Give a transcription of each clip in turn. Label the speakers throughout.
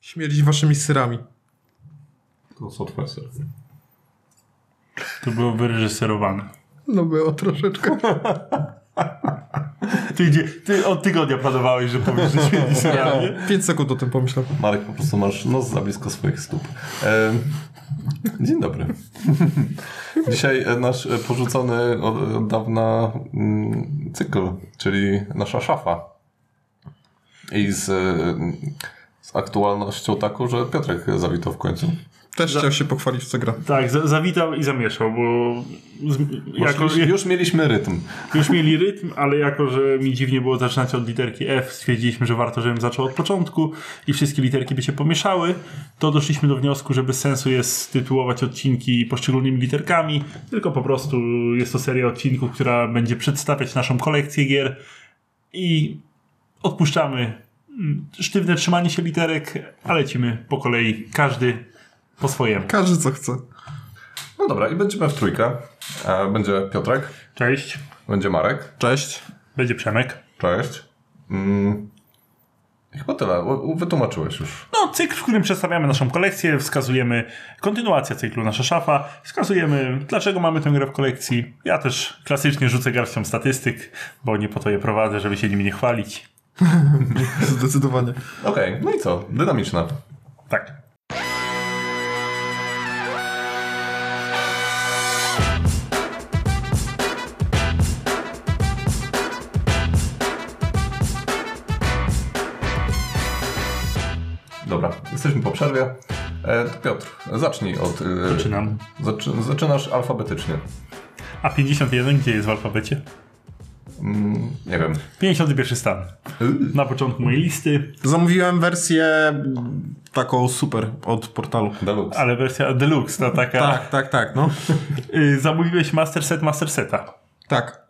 Speaker 1: Śmierdzić waszymi syrami.
Speaker 2: To są twoje sery. To było wyreżyserowane.
Speaker 1: No było troszeczkę.
Speaker 2: Ty, gdzie- ty od tygodnia planowałeś, że powiesz, że śmierdzi serami.
Speaker 1: Pięć sekund o tym pomyślał.
Speaker 3: Marek, po prostu masz nos za blisko swoich stóp. E, dzień dobry. Dzisiaj e, nasz e, porzucony od, od dawna mm, cykl, czyli nasza szafa. I z, e, z aktualnością taką, że Piotrek zawitał w końcu.
Speaker 1: Też chciał się pochwalić, w co gra.
Speaker 2: Tak, za, zawitał i zamieszał, bo z, jako,
Speaker 3: Już,
Speaker 2: już,
Speaker 3: już mieliśmy rytm.
Speaker 2: mieli rytm, ale jako, że mi dziwnie było zaczynać od literki F, stwierdziliśmy, że warto, żebym zaczął od początku i wszystkie literki by się pomieszały, to doszliśmy do wniosku, że bez sensu jest tytułować odcinki poszczególnymi literkami, tylko po prostu jest to seria odcinków, która będzie przedstawiać naszą kolekcję gier i odpuszczamy mm, sztywne trzymanie się literek, a lecimy po kolei, każdy po swojemu.
Speaker 1: Każdy co chce.
Speaker 3: No dobra, i będziemy w trójkę. E, będzie Piotrek,
Speaker 2: Cześć.
Speaker 3: będzie Marek.
Speaker 1: Cześć.
Speaker 2: Będzie Przemek.
Speaker 3: Cześć. Mm, i chyba tyle. U- u- Wytłumaczyłeś już.
Speaker 2: No, cykl, w którym przedstawiamy naszą kolekcję, wskazujemy kontynuację cyklu Nasza Szafa, wskazujemy dlaczego mamy tę grę w kolekcji. Ja też klasycznie rzucę garścią statystyk, bo nie po to je prowadzę, żeby się nimi nie chwalić.
Speaker 1: Zdecydowanie.
Speaker 3: Okej, no i co? Dynamiczne.
Speaker 2: Tak.
Speaker 3: Dobra, jesteśmy po przerwie. E, to Piotr, zacznij od. e,
Speaker 2: Zaczynam.
Speaker 3: zaczy- zaczynasz alfabetycznie.
Speaker 2: A 51 gdzie jest w alfabecie?
Speaker 3: Mm, nie wiem.
Speaker 2: 51 stan. Na początku mojej listy,
Speaker 1: Zamówiłem wersję mm, taką super od portalu.
Speaker 3: Deluxe.
Speaker 2: ale wersja deluxe, ta taka.
Speaker 1: Tak, tak, tak, no.
Speaker 2: Y, zamówiłeś Master Set Master Seta.
Speaker 1: Tak.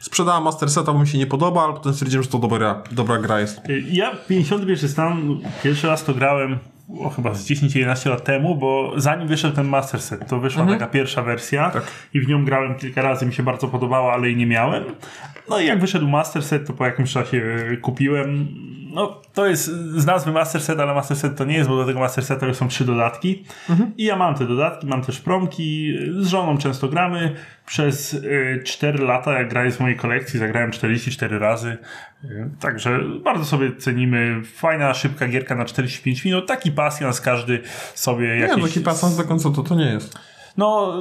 Speaker 1: Sprzedałem Master Seta, bo mi się nie podoba, ale potem stwierdziłem, że to dobra, dobra gra jest.
Speaker 2: Ja 51 stan pierwszy raz to grałem o, chyba z 10-11 lat temu, bo zanim wyszedł ten Master Set, to wyszła taka pierwsza wersja i w nią grałem kilka razy, mi się bardzo podobała, ale jej nie miałem. No i jak wyszedł Master Set, to po jakimś czasie e, kupiłem. No to jest z nazwy Master Set, ale Master Set to nie jest, bo do tego Master Seta już są trzy dodatki. I ja mam te dodatki, mam też promki, z żoną często gramy. Przez e, 4 lata, jak gra jest w mojej kolekcji, zagrałem 44 razy. E, Także bardzo sobie cenimy. Fajna, szybka gierka na 45 minut. Taki pasjans każdy sobie
Speaker 1: Nie,
Speaker 2: jakiś...
Speaker 1: no, taki pasans do końca to to nie jest.
Speaker 2: No,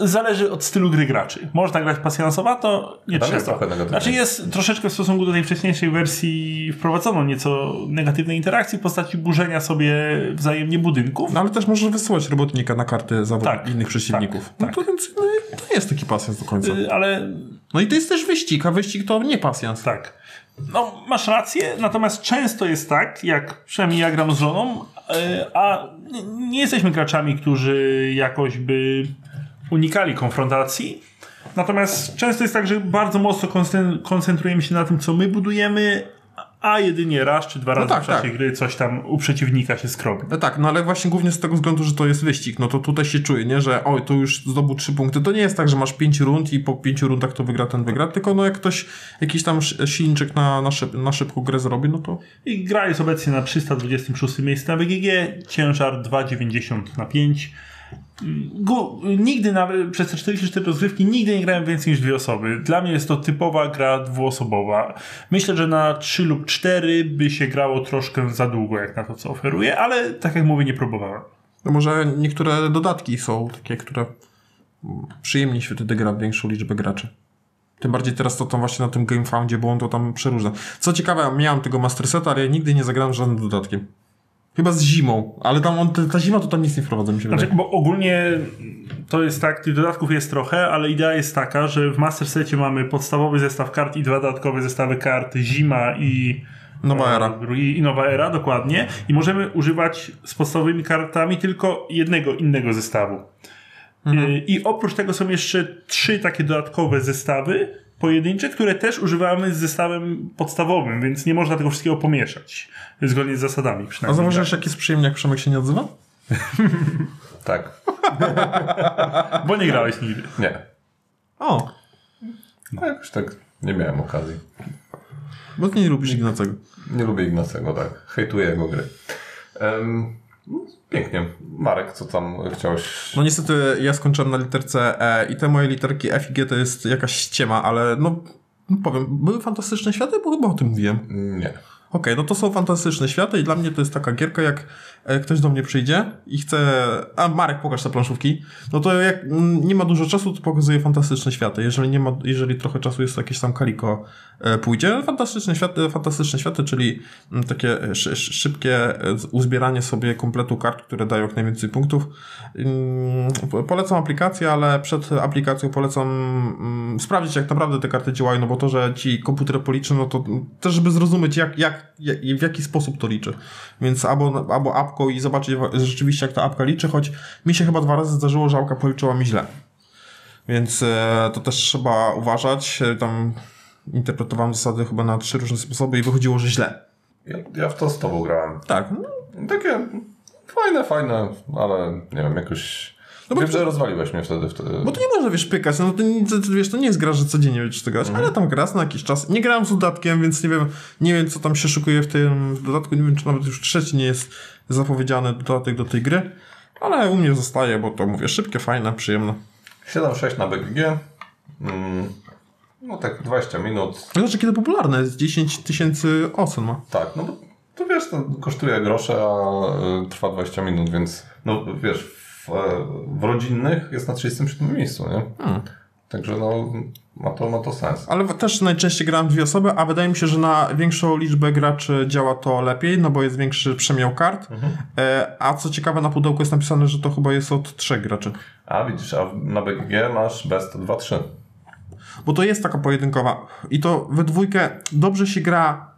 Speaker 2: zależy od stylu gry graczy. Można grać pasjansowato, nie
Speaker 3: Tam
Speaker 2: trzeba.
Speaker 3: jest trochę negatywnej.
Speaker 2: znaczy jest troszeczkę w stosunku do tej wcześniejszej wersji wprowadzono nieco negatywnej interakcji w postaci burzenia sobie wzajemnie budynków.
Speaker 1: No ale też możesz wysyłać robotnika na karty zawod
Speaker 2: Tak,
Speaker 1: innych przeciwników.
Speaker 2: tak,
Speaker 1: no
Speaker 2: tak.
Speaker 1: to więc no, i to jest taki pasjans do końca.
Speaker 2: Y, Ale
Speaker 1: No i to jest też wyścig, a wyścig to nie pasjans.
Speaker 2: tak. No, masz rację, natomiast często jest tak, jak przynajmniej ja gram z żoną, y, a n- nie jesteśmy graczami, którzy jakoś by unikali konfrontacji. Natomiast często jest tak, że bardzo mocno konsen- koncentrujemy się na tym, co my budujemy, a jedynie raz czy dwa razy
Speaker 1: tak,
Speaker 2: w czasie
Speaker 1: tak.
Speaker 2: gry coś tam u przeciwnika się skrobi.
Speaker 1: No tak, no ale właśnie głównie z tego względu, że to jest wyścig, no to tutaj się czuje, nie, że oj, tu już zdobył trzy punkty. To nie jest tak, że masz pięć rund i po pięciu rundach to wygra ten wygra, tylko no jak ktoś jakiś tam sz- silniczek na, na, szyb, na szybką grę zrobi, no to
Speaker 2: I gra jest obecnie na 326 miejscu na BGG, ciężar 2,90 na 5. Gu- nigdy nawet przez te 44 rozgrywki nigdy nie grałem więcej niż dwie osoby. Dla mnie jest to typowa gra dwuosobowa. Myślę, że na 3 lub 4 by się grało troszkę za długo jak na to co oferuje, ale tak jak mówię nie próbowałem.
Speaker 1: no może niektóre dodatki są takie, które mm, przyjemniej się wtedy gra w większą liczbę graczy. Tym bardziej teraz to tam właśnie na tym GameFoundzie, bo on to tam przeróżne. Co ciekawe, miałem tego Master Seta, ale ja nigdy nie zagrałem żadnym dodatkiem. Chyba z zimą, ale tam on, ta zima to tam nic nie wprowadza, mi się
Speaker 2: Znaczy,
Speaker 1: wydaje.
Speaker 2: bo ogólnie to jest tak, tych dodatków jest trochę, ale idea jest taka, że w Master Secie mamy podstawowy zestaw kart i dwa dodatkowe zestawy kart, zima i
Speaker 1: Nowa era.
Speaker 2: Drugi, I nowa era, dokładnie. I możemy używać z podstawowymi kartami tylko jednego innego zestawu. Y, I oprócz tego są jeszcze trzy takie dodatkowe zestawy pojedyncze, które też używamy z zestawem podstawowym, więc nie można tego wszystkiego pomieszać. Zgodnie z zasadami
Speaker 1: A
Speaker 2: przynajmniej.
Speaker 1: zauważyłeś, jak jest przyjemnie, jak Przemek się nie odzywa?
Speaker 3: Tak.
Speaker 2: Bo nie grałeś nigdy.
Speaker 3: Nie.
Speaker 1: O,
Speaker 3: No, jakoś tak nie miałem okazji.
Speaker 1: bo ty nie lubisz Ignacego.
Speaker 3: Nie lubię Ignacego, tak. Hejtuję jego gry. Em, no, pięknie. Marek, co tam chciałeś?
Speaker 1: No niestety ja skończyłem na literce E i te moje literki F i G to jest jakaś ściema, ale no powiem, były fantastyczne światy, bo chyba o tym mówiłem.
Speaker 3: Nie.
Speaker 1: Okej, no to są fantastyczne światy i dla mnie to jest taka gierka, jak e, ktoś do mnie przyjdzie i chce... A, Marek, pokaż te planszówki. No to jak mm, nie ma dużo czasu, to pokazuje fantastyczne światy. Jeżeli nie ma, jeżeli trochę czasu jest to jakieś tam kaliko e, pójdzie. Fantastyczne światy, fantastyczne światy, czyli mm, takie e, szy, szy- szybkie e, z- uzbieranie sobie kompletu kart, które dają jak najwięcej punktów. Ym, po- Polecam aplikację, ale przed aplikacją polecam mm, sprawdzić, jak naprawdę te karty działają, no bo to, że ci komputer policzy, no to mm, też, żeby zrozumieć, jak, jak, jak, w jaki sposób to liczy. Więc albo, albo apką i zobaczyć wa- rzeczywiście, jak ta apka liczy, choć mi się chyba dwa razy zdarzyło, że apka policzyła mi źle. Więc e, to też trzeba uważać. E, Tam interpretowałem zasady chyba na trzy różne sposoby i wychodziło, że źle.
Speaker 3: Ja, ja w to z tobą grałem.
Speaker 1: Tak, no,
Speaker 3: Takie fajne, fajne, ale nie wiem, jakoś...
Speaker 1: No bo
Speaker 3: wiem,
Speaker 1: to-
Speaker 3: że rozwaliłeś mnie wtedy. wtedy.
Speaker 1: Bo to nie można, wiesz, pykać, no to, nie- to, to, wiesz, to nie jest gra, że codziennie będziesz to grać, ale tam gra na jakiś czas. Nie grałem z dodatkiem, więc nie wiem, nie wiem, co tam się szykuje w tym dodatku, nie wiem, czy nawet już trzeci nie jest zapowiedziany dodatek do tej gry, ale u mnie zostaje, bo to, mówię, szybkie, fajne, przyjemne.
Speaker 3: 7-6 na BGG. Mm, no tak 20 minut.
Speaker 1: To Znaczy, kiedy popularne jest, 10 tysięcy ocen ma.
Speaker 3: Tak, no bo to wiesz, to kosztuje grosze, a y, trwa 20 minut, więc no wiesz, w, e, w rodzinnych jest na 37 miejscu, nie?
Speaker 1: Hmm.
Speaker 3: Także no, ma to, ma to sens.
Speaker 1: Ale też najczęściej grałem dwie osoby, a wydaje mi się, że na większą liczbę graczy działa to lepiej, no bo jest większy przemiał kart. E, a co ciekawe, na pudełku jest napisane, że to chyba jest od trzech graczy.
Speaker 3: A widzisz, a na BGG masz best 2-3.
Speaker 1: Bo to jest taka pojedynkowa. I to we dwójkę dobrze się gra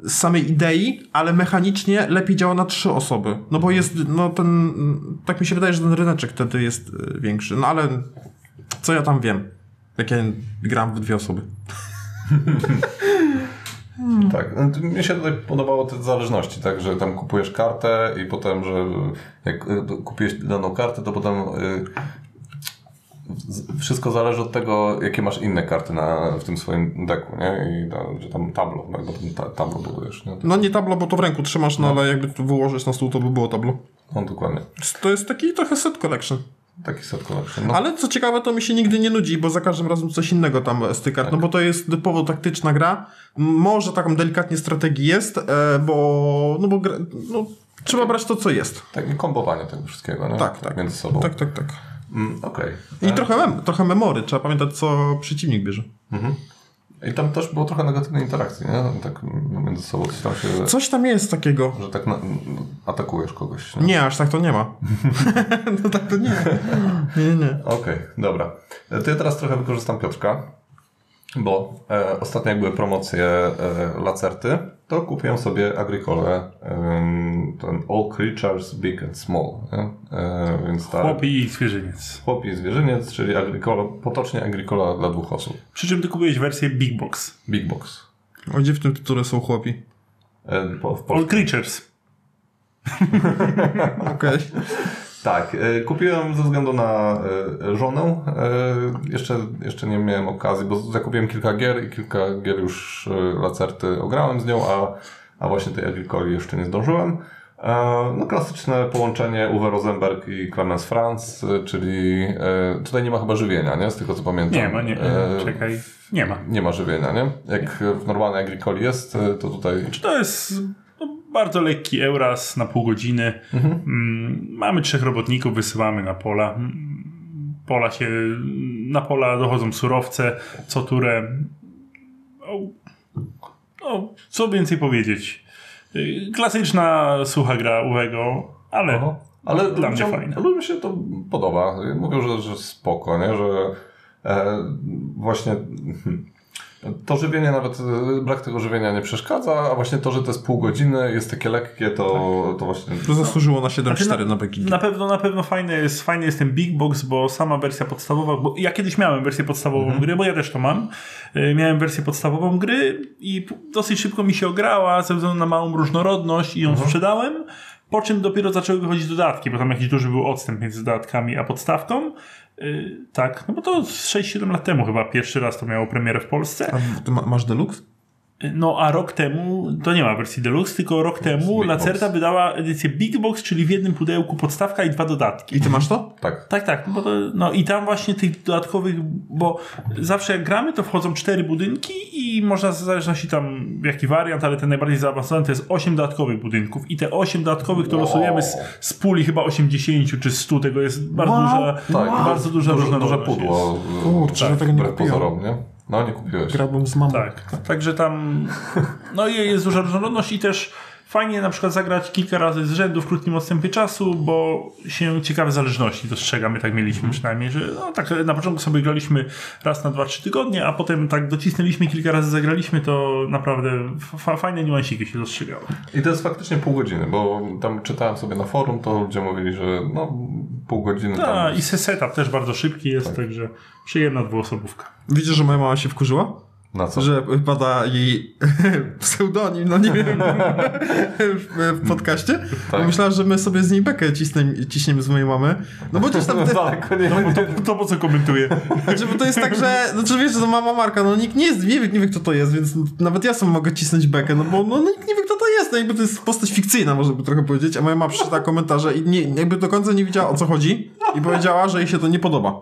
Speaker 1: z samej idei, ale mechanicznie lepiej działa na trzy osoby. No bo jest, no ten, tak mi się wydaje, że ten ryneczek wtedy jest y, większy. No ale co ja tam wiem, jak ja gram w dwie osoby.
Speaker 3: Tak, no, mi się tutaj podobało te zależności, tak, że tam kupujesz kartę i potem, że jak y, kupiłeś daną kartę, to potem y, z- wszystko zależy od tego, jakie masz inne karty na, w tym swoim deku, nie? I tam, że tam tablo, tak, bo tam ta, tablo budujesz, nie?
Speaker 1: No nie tablo, bo to w ręku trzymasz, no ale jakby tu wyłożyć na stół, to by było tablo.
Speaker 3: No dokładnie,
Speaker 1: To jest taki trochę set collection.
Speaker 3: taki set collection. No,
Speaker 1: Ale co ciekawe, to mi się nigdy nie nudzi, bo za każdym razem coś innego tam z tych kart. No bo to jest typowo taktyczna gra. M- Może taką delikatnie strategii jest, e, bo. No bo. Gra, no, trzeba brać to, co jest.
Speaker 3: Takie kombowanie tak, tego wszystkiego, nie?
Speaker 1: Tak, tak.
Speaker 3: Między sobą.
Speaker 1: Tak, tak, tak.
Speaker 3: Mm, Okej.
Speaker 1: I trochę, mem, trochę memory, trzeba pamiętać, co przeciwnik bierze.
Speaker 3: I tam też było trochę negatywnej interakcji, nie? Tak mm, między sobą coś tam się...
Speaker 1: Coś tam jest takiego.
Speaker 3: Że tak na, mm, atakujesz kogoś, nie?
Speaker 1: Nie, aż tak to nie ma. no tak to nie. Nie, nie.
Speaker 3: Okej, dobra. To ja teraz trochę wykorzystam Piotrka, bo e, ostatnio jak były promocje e, lacerty, to kupiłem sobie agrikolę, em, ten All Creatures Big and Small, nie? E, więc ta...
Speaker 2: Chłop i zwierzyniec.
Speaker 3: Chłop i zwierzyniec, czyli agrikola, potocznie agrikola dla dwóch osób.
Speaker 2: Przy czym ty kupiłeś wersję Big Box.
Speaker 3: Big Box.
Speaker 1: O, gdzie w tym tytule są chłopi?
Speaker 3: E, po, w Polsce.
Speaker 2: All Creatures.
Speaker 1: Okej.
Speaker 3: Tak, e, kupiłem ze względu na e, żonę. E, Jeszcze, jeszcze nie miałem okazji, bo zakupiłem kilka gier i kilka gier już e, lacerty ograłem z nią, a, a właśnie tej Agricoli jeszcze nie zdążyłem. E, No klasyczne połączenie Uwe Rosenberg i Clemens Franz, e, czyli e, tutaj nie ma chyba żywienia, nie? Z tego co pamiętam.
Speaker 2: Nie ma, nie.
Speaker 3: E,
Speaker 2: Czekaj. Nie ma.
Speaker 3: Nie ma żywienia, nie? Jak w normalnej Agricoli jest, e, to tutaj...
Speaker 2: Czy to jest no, bardzo lekki Euras na pół godziny. Mm, Mamy trzech robotników, wysyłamy na pola. Mm, Pola się, na pola dochodzą surowce, co turę. O, no, co więcej powiedzieć? Y, Klasyczna sucha gra Uwego, ale
Speaker 3: Aha. No, Ale
Speaker 2: No, dla mnie
Speaker 3: ludziom,
Speaker 2: fajne.
Speaker 3: Ludziom się to podoba. Mówią, że, że spoko, nie? że e, właśnie hmm, to żywienie, nawet e, brak tego żywienia nie przeszkadza, a właśnie to, że to jest pół godziny, jest takie lekkie, to,
Speaker 2: Tak.
Speaker 3: to właśnie...
Speaker 1: To zasłużyło na 7-4 na
Speaker 2: Znaczy, no, Na
Speaker 1: BGG.
Speaker 2: pewno, na pewno fajny jest, fajny jest ten Big Box, bo sama wersja podstawowa, bo ja kiedyś miałem wersję podstawową gry, bo ja też to mam. E, Miałem wersję podstawową gry i p- dosyć szybko mi się ograła ze względu na małą różnorodność i ją sprzedałem. Po czym dopiero zaczęły wychodzić dodatki, bo tam jakiś duży był odstęp między dodatkami a podstawką. E, Tak, no bo to z 6-7 lat temu chyba pierwszy raz to miało premierę w Polsce.
Speaker 1: A ty ma, masz deluxe?
Speaker 2: No a rok temu, to nie ma wersji Deluxe, tylko rok temu
Speaker 3: Big
Speaker 2: Lacerda
Speaker 3: Box.
Speaker 2: wydała edycję Big Box, czyli w jednym pudełku podstawka i dwa dodatki.
Speaker 1: I ty masz to?
Speaker 3: Tak.
Speaker 2: Tak, tak, bo to, no i tam właśnie tych dodatkowych, bo zawsze jak gramy, to wchodzą cztery budynki i można w zależności tam jaki wariant, ale ten najbardziej zaawansowany to jest osiem dodatkowych budynków i te osiem dodatkowych to
Speaker 3: Wow.
Speaker 2: losujemy z, z puli chyba 80 czy 100, tego jest bardzo
Speaker 1: Wow.
Speaker 2: duża,
Speaker 3: Tak.
Speaker 2: bardzo duża
Speaker 3: Duże, duże
Speaker 2: różnorodność jest.
Speaker 3: pudło. e,
Speaker 1: Kurczę, ja tego nie
Speaker 3: wbrew
Speaker 1: kupiłem.
Speaker 3: pozorom, nie? No nie kupiłeś.
Speaker 1: Grałbym z mamą.
Speaker 2: Tak, także tam no i jest duża różnorodność i też fajnie na przykład zagrać kilka razy z rzędu w krótkim odstępie czasu, bo się ciekawe zależności dostrzegamy, tak mieliśmy przynajmniej, że no tak na początku sobie graliśmy raz na 2-3 tygodnie, a potem tak docisnęliśmy, kilka razy zagraliśmy, to naprawdę fa- fajne niuansiki się dostrzegały.
Speaker 3: I to jest faktycznie pół godziny, bo tam czytałem sobie na forum, to ludzie mówili, że no pół godziny
Speaker 2: Ta,
Speaker 3: tam.
Speaker 2: I se- setup też bardzo szybki jest, także przyjemna dwuosobówka.
Speaker 1: Widzisz, że moja mama się wkurzyła?
Speaker 3: Na co?
Speaker 1: Że pada jej pseudonim, no nie wiem, w- w podcaście.
Speaker 3: Tak.
Speaker 1: Bo Myślałem, że my sobie z niej bekę ciśniemy, ciśniemy z mojej mamy. No bo gdzieś tam... Te,
Speaker 3: Daleko nie, nie, nie.
Speaker 2: No, To po co komentuję?
Speaker 1: znaczy, bo to jest tak, że... Znaczy wiesz, że to mama Marka, no nikt nie, jest, nie, wie, nie wie kto to jest, więc nawet ja sam mogę cisnąć bekę, no bo no, nikt nie wie kto to jest, no jakby to jest postać fikcyjna, można by trochę powiedzieć, a moja mama przeczytała komentarze i nie, jakby do końca nie wiedziała o co chodzi i powiedziała, że jej się to nie podoba.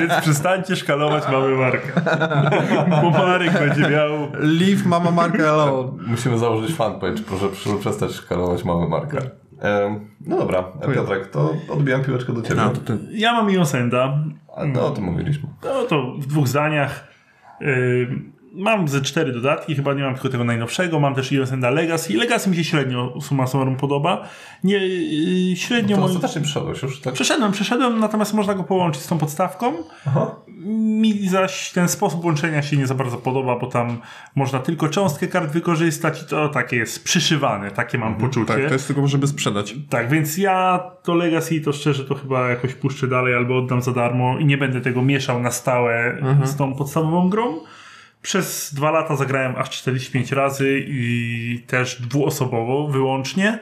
Speaker 2: Więc przestańcie szkalować mamy Marka. Bo Marek będzie miał
Speaker 1: Leave mama Marka alone.
Speaker 3: Musimy założyć fanpage, proszę, proszę przestać szkalować mamy markę. Em, no dobra, Piotrek, to odbijam piłeczkę do ciebie.
Speaker 1: No, to ty.
Speaker 2: Ja mam Iosenda.
Speaker 3: A to o tym mówiliśmy.
Speaker 2: No to w dwóch zdaniach. Yy, mam ze cztery dodatki, chyba nie mam tylko tego najnowszego. Mam też Iosenda Legacy. Legacy mi się średnio summa summarum podoba. Nie, yy,
Speaker 3: No
Speaker 2: średnio
Speaker 3: to
Speaker 2: moim...
Speaker 3: ostatecznie przyszedłeś już, tak?
Speaker 2: Przeszedłem, przeszedłem, natomiast można go połączyć z tą podstawką.
Speaker 3: Aha.
Speaker 2: Mi zaś ten sposób łączenia się nie za bardzo podoba, bo tam można tylko cząstkę kart wykorzystać i to takie jest przyszywane, takie mam poczucie.
Speaker 1: Tak, to jest tylko, żeby sprzedać.
Speaker 2: Tak, więc ja to Legacy to szczerze to chyba jakoś puszczę dalej albo oddam za darmo i nie będę tego mieszał na stałe z tą podstawową grą. Przez dwa lata zagrałem aż 45 razy i też dwuosobowo wyłącznie.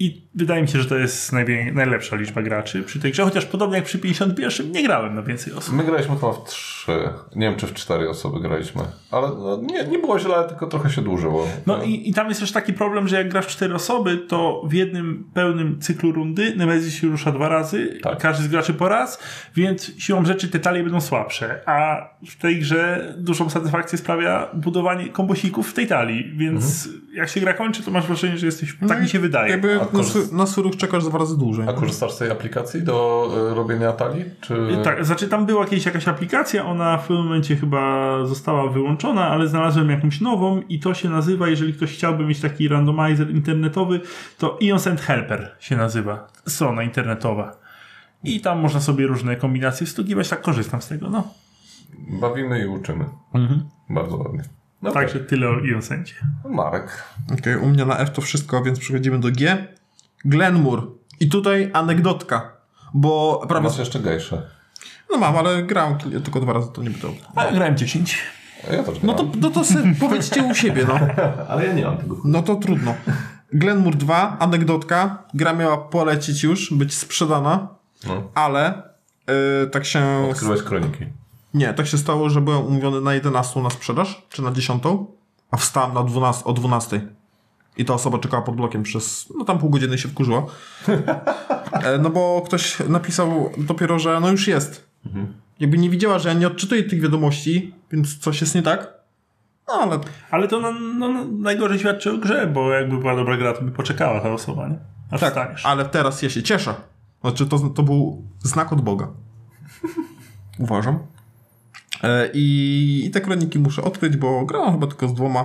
Speaker 2: I wydaje mi się, że to jest najwie- najlepsza liczba graczy przy tej grze, chociaż podobnie jak przy 51 nie grałem na więcej osób.
Speaker 3: My graliśmy chyba w trzy, nie wiem czy w cztery osoby graliśmy, ale no, nie, nie było źle, tylko trochę się dłużyło.
Speaker 2: No i, i tam jest też taki problem, że jak grasz w cztery osoby, to w jednym pełnym cyklu rundy Nemezis się rusza dwa razy,
Speaker 3: Tak.
Speaker 2: każdy z graczy po raz, więc siłą rzeczy te talie będą słabsze, a w tej grze dużą satysfakcję sprawia budowanie kombosików w tej talii, więc jak się gra kończy, to masz wrażenie, że jesteś, tak
Speaker 1: No i
Speaker 2: mi się wydaje.
Speaker 1: Jakby na,
Speaker 3: A korzyst-
Speaker 1: su- na surów czekasz dwa razy dłużej.
Speaker 3: A korzystasz z tej aplikacji do y, robienia talii? Czy...
Speaker 2: Tak, znaczy tam była kiedyś jakaś aplikacja, ona w pewnym momencie chyba została wyłączona, ale znalazłem jakąś nową i to się nazywa, jeżeli ktoś chciałby mieć taki randomizer internetowy, to Ions and Helper się nazywa, strona internetowa. I tam można sobie różne kombinacje wstukiwać, tak korzystam z tego, no.
Speaker 3: Bawimy i uczymy. Bardzo ładnie. No
Speaker 2: Także tyle o Ionsencie.
Speaker 3: tak. Marek.
Speaker 1: Okej, u mnie na F to wszystko, więc przechodzimy do G. Glenmur. I tutaj anegdotka, bo prawda.
Speaker 3: Masz jeszcze gejsze.
Speaker 1: No mam, ale grałem kil- tylko dwa razy, to nie było.
Speaker 2: A ja grałem 10.
Speaker 3: Ja też
Speaker 1: No to, no to se, powiedzcie u siebie, no.
Speaker 3: Ale ja nie mam tego.
Speaker 1: No to trudno. Glenmur 2, anegdotka. Gra miała polecieć już, być sprzedana,
Speaker 3: No.
Speaker 1: ale yy, tak się.
Speaker 3: Odkryłeś kroniki.
Speaker 1: Nie, tak się stało, że byłem umówiony na 11 na sprzedaż, czy na 10, a wstałem na 12, o 12. I ta osoba czekała pod blokiem przez, no tam pół godziny i się wkurzyła. E, No bo ktoś napisał dopiero, że no już jest. Jakby nie widziała, że ja nie odczytuję tych wiadomości, więc coś jest nie tak. No ale
Speaker 2: Ale to no, no, no, najgorzej świadczy o grze, bo jakby była dobra gra, to by poczekała ta osoba, nie? Aż
Speaker 1: tak,
Speaker 2: wstaniesz.
Speaker 1: ale teraz ja się cieszę. Znaczy to, to był znak od Boga. Uważam. E, I, I te kroniki muszę odkryć, bo grałem chyba tylko z dwoma.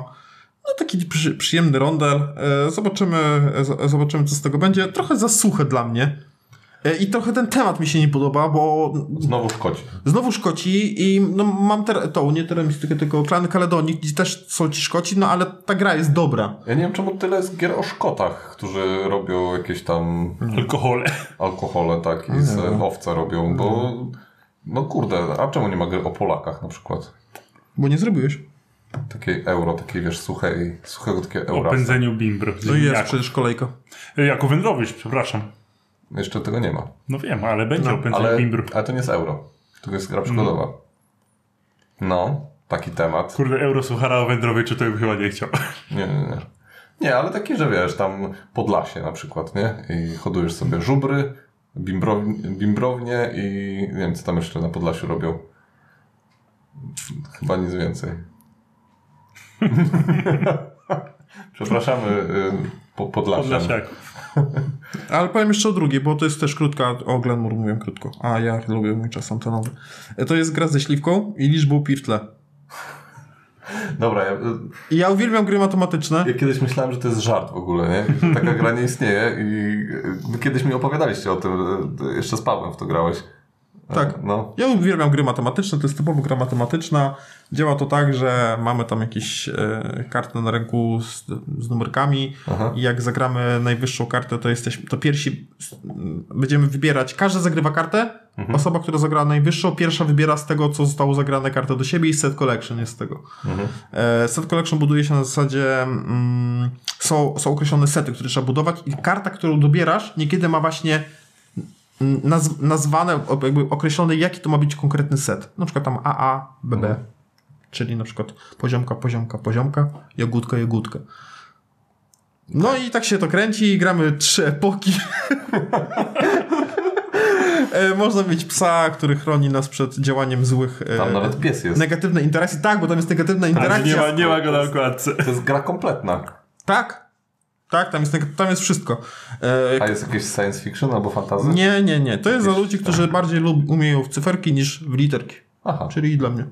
Speaker 1: No taki przy, przyjemny rondel. E, Zobaczymy, e, z- zobaczymy, co z tego będzie. Trochę za suche dla mnie. E, I trochę ten temat mi się nie podoba, bo
Speaker 3: Znowu Szkoci.
Speaker 1: znowu Szkoci i no, mam ter- tą, nie teremistykę, tylko klany Kaledonii, gdzie też są ci Szkoci, no ale ta gra jest dobra.
Speaker 3: Ja nie wiem czemu tyle jest gier o Szkotach, którzy robią jakieś tam
Speaker 2: Alkohole.
Speaker 3: alkohole, tak, i z owce robią, bo... No kurde, a czemu nie ma gry o Polakach na przykład?
Speaker 1: Bo nie zrobiłeś.
Speaker 3: Takiej euro, takiej wiesz, suchej, suchego takiego
Speaker 2: O
Speaker 3: eura.
Speaker 2: pędzeniu bimbr.
Speaker 1: No i jest
Speaker 2: jako,
Speaker 1: przecież kolejka.
Speaker 2: jako wędrowicz, przepraszam.
Speaker 3: Jeszcze tego nie ma.
Speaker 2: No wiem, ale będzie no, opędzenie
Speaker 3: Ale,
Speaker 2: bimbr.
Speaker 3: ale to nie jest euro. To jest gra przygodowa. No, taki temat.
Speaker 2: Kurde, Eurosuchara o Wędrowiczu to bym chyba nie chciał.
Speaker 3: Nie, nie, nie. Nie, ale taki, że wiesz, tam Podlasie na przykład, nie? I hodujesz sobie żubry, bimbrownie, bimbrownie i nie wiem, co tam jeszcze na Podlasiu robią. Chyba nic więcej. Przepraszamy y, po, Podlasia.
Speaker 2: Podlasiaków.
Speaker 1: Ale powiem jeszcze o drugiej, bo to jest też krótka, o Glenmore mówiłem krótko, a ja lubię mój czas antenowy. E, To jest gra ze śliwką i liczbą pirtle.
Speaker 3: Dobra, ja,
Speaker 1: I ja uwielbiam gry matematyczne.
Speaker 3: ja kiedyś myślałem, że to jest żart w ogóle, nie? Że Taka gra nie istnieje i y, kiedyś mi opowiadaliście o tym, y, jeszcze z Pawłem w to grałeś.
Speaker 1: Tak.
Speaker 3: No.
Speaker 1: Ja uwielbiam gry matematyczne, to jest typowo gra matematyczna. Działa to tak, że mamy tam jakieś e, karty na ręku z, z numerkami
Speaker 3: Aha.
Speaker 1: i jak zagramy najwyższą kartę, to jesteśmy, to pierwsi s- m, będziemy wybierać, każdy zagrywa kartę, osoba, która zagrała najwyższą, pierwsza wybiera z tego, co zostało zagrane kartę do siebie i set collection jest z tego. E, Set collection buduje się na zasadzie mm, są, są określone sety, które trzeba budować i karta, którą dobierasz, niekiedy ma właśnie mm, naz, nazwane, o- jakby określone, jaki to ma być konkretny set. Na przykład tam AA, BB, czyli na przykład poziomka, poziomka, poziomka, jagódka, jagódka. No i tak się to kręci i gramy trzy epoki. E, Można mieć psa, który chroni nas przed działaniem złych e,
Speaker 3: Tam nawet pies jest.
Speaker 1: negatywne interakcje. Tak, bo tam jest negatywna
Speaker 2: Ale nie
Speaker 1: interakcja.
Speaker 2: ma, nie ma go na okładce.
Speaker 3: To jest gra kompletna.
Speaker 1: Tak, tak, tam jest, neg- tam jest wszystko. E,
Speaker 3: A jest jakieś science fiction albo fantasy?
Speaker 1: nie, nie, nie. To jest dla
Speaker 3: Jakieś-
Speaker 1: ludzi, którzy bardziej lub umieją w cyferki niż w literki.
Speaker 3: Aha,
Speaker 1: Czyli i dla mnie.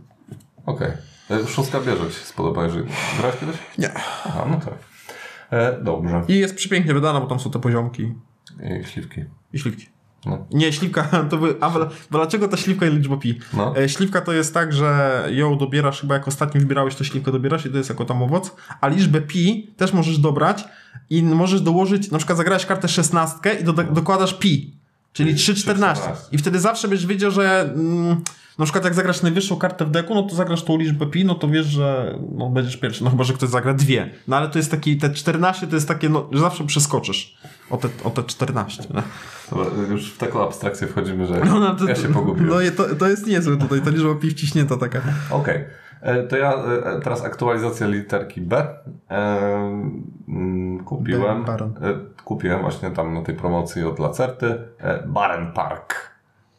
Speaker 3: okej. Okay. Szóstka bierze ci się spodoba, jeżeli grałeś kiedyś?
Speaker 1: Nie.
Speaker 3: Aha, no tak. E, dobrze.
Speaker 1: I jest przepięknie wydana, bo tam są te poziomki
Speaker 3: I śliwki.
Speaker 1: i śliwki.
Speaker 3: No.
Speaker 1: Nie, śliwka, to by. A wla- bo dlaczego ta śliwka i liczba pi?
Speaker 3: No.
Speaker 1: E, śliwka to jest tak, że ją dobierasz, chyba jak ostatnio wybierałeś, to śliwkę dobierasz i to jest jako tam owoc, a liczbę pi też możesz dobrać i możesz dołożyć, na przykład zagrałeś kartę szesnastkę i doda- dokładasz pi, czyli
Speaker 3: No. Czyli
Speaker 1: 3,14.
Speaker 3: 3,14.
Speaker 1: I wtedy zawsze będziesz wiedział, że mm, na przykład jak zagrasz najwyższą kartę w deku, no to zagrasz tą liczbę pi, no to wiesz, że no, będziesz pierwszy, no chyba, że ktoś zagra dwie. No ale to jest taki, te 14 to jest takie, no, że zawsze przeskoczysz o te, o te 14. nie?
Speaker 3: Dobra, e, już w taką abstrakcję wchodzimy, że
Speaker 1: No, no, to,
Speaker 3: ja się pogubiłem.
Speaker 1: No i to, to jest niezłe tutaj, ta liczba pi wciśnięta taka.
Speaker 3: Okej. E, To ja e, teraz aktualizację literki B e, mm, kupiłem.
Speaker 1: B, Baron.
Speaker 3: e, Kupiłem właśnie tam na tej promocji od Lacerty e, Baren Park,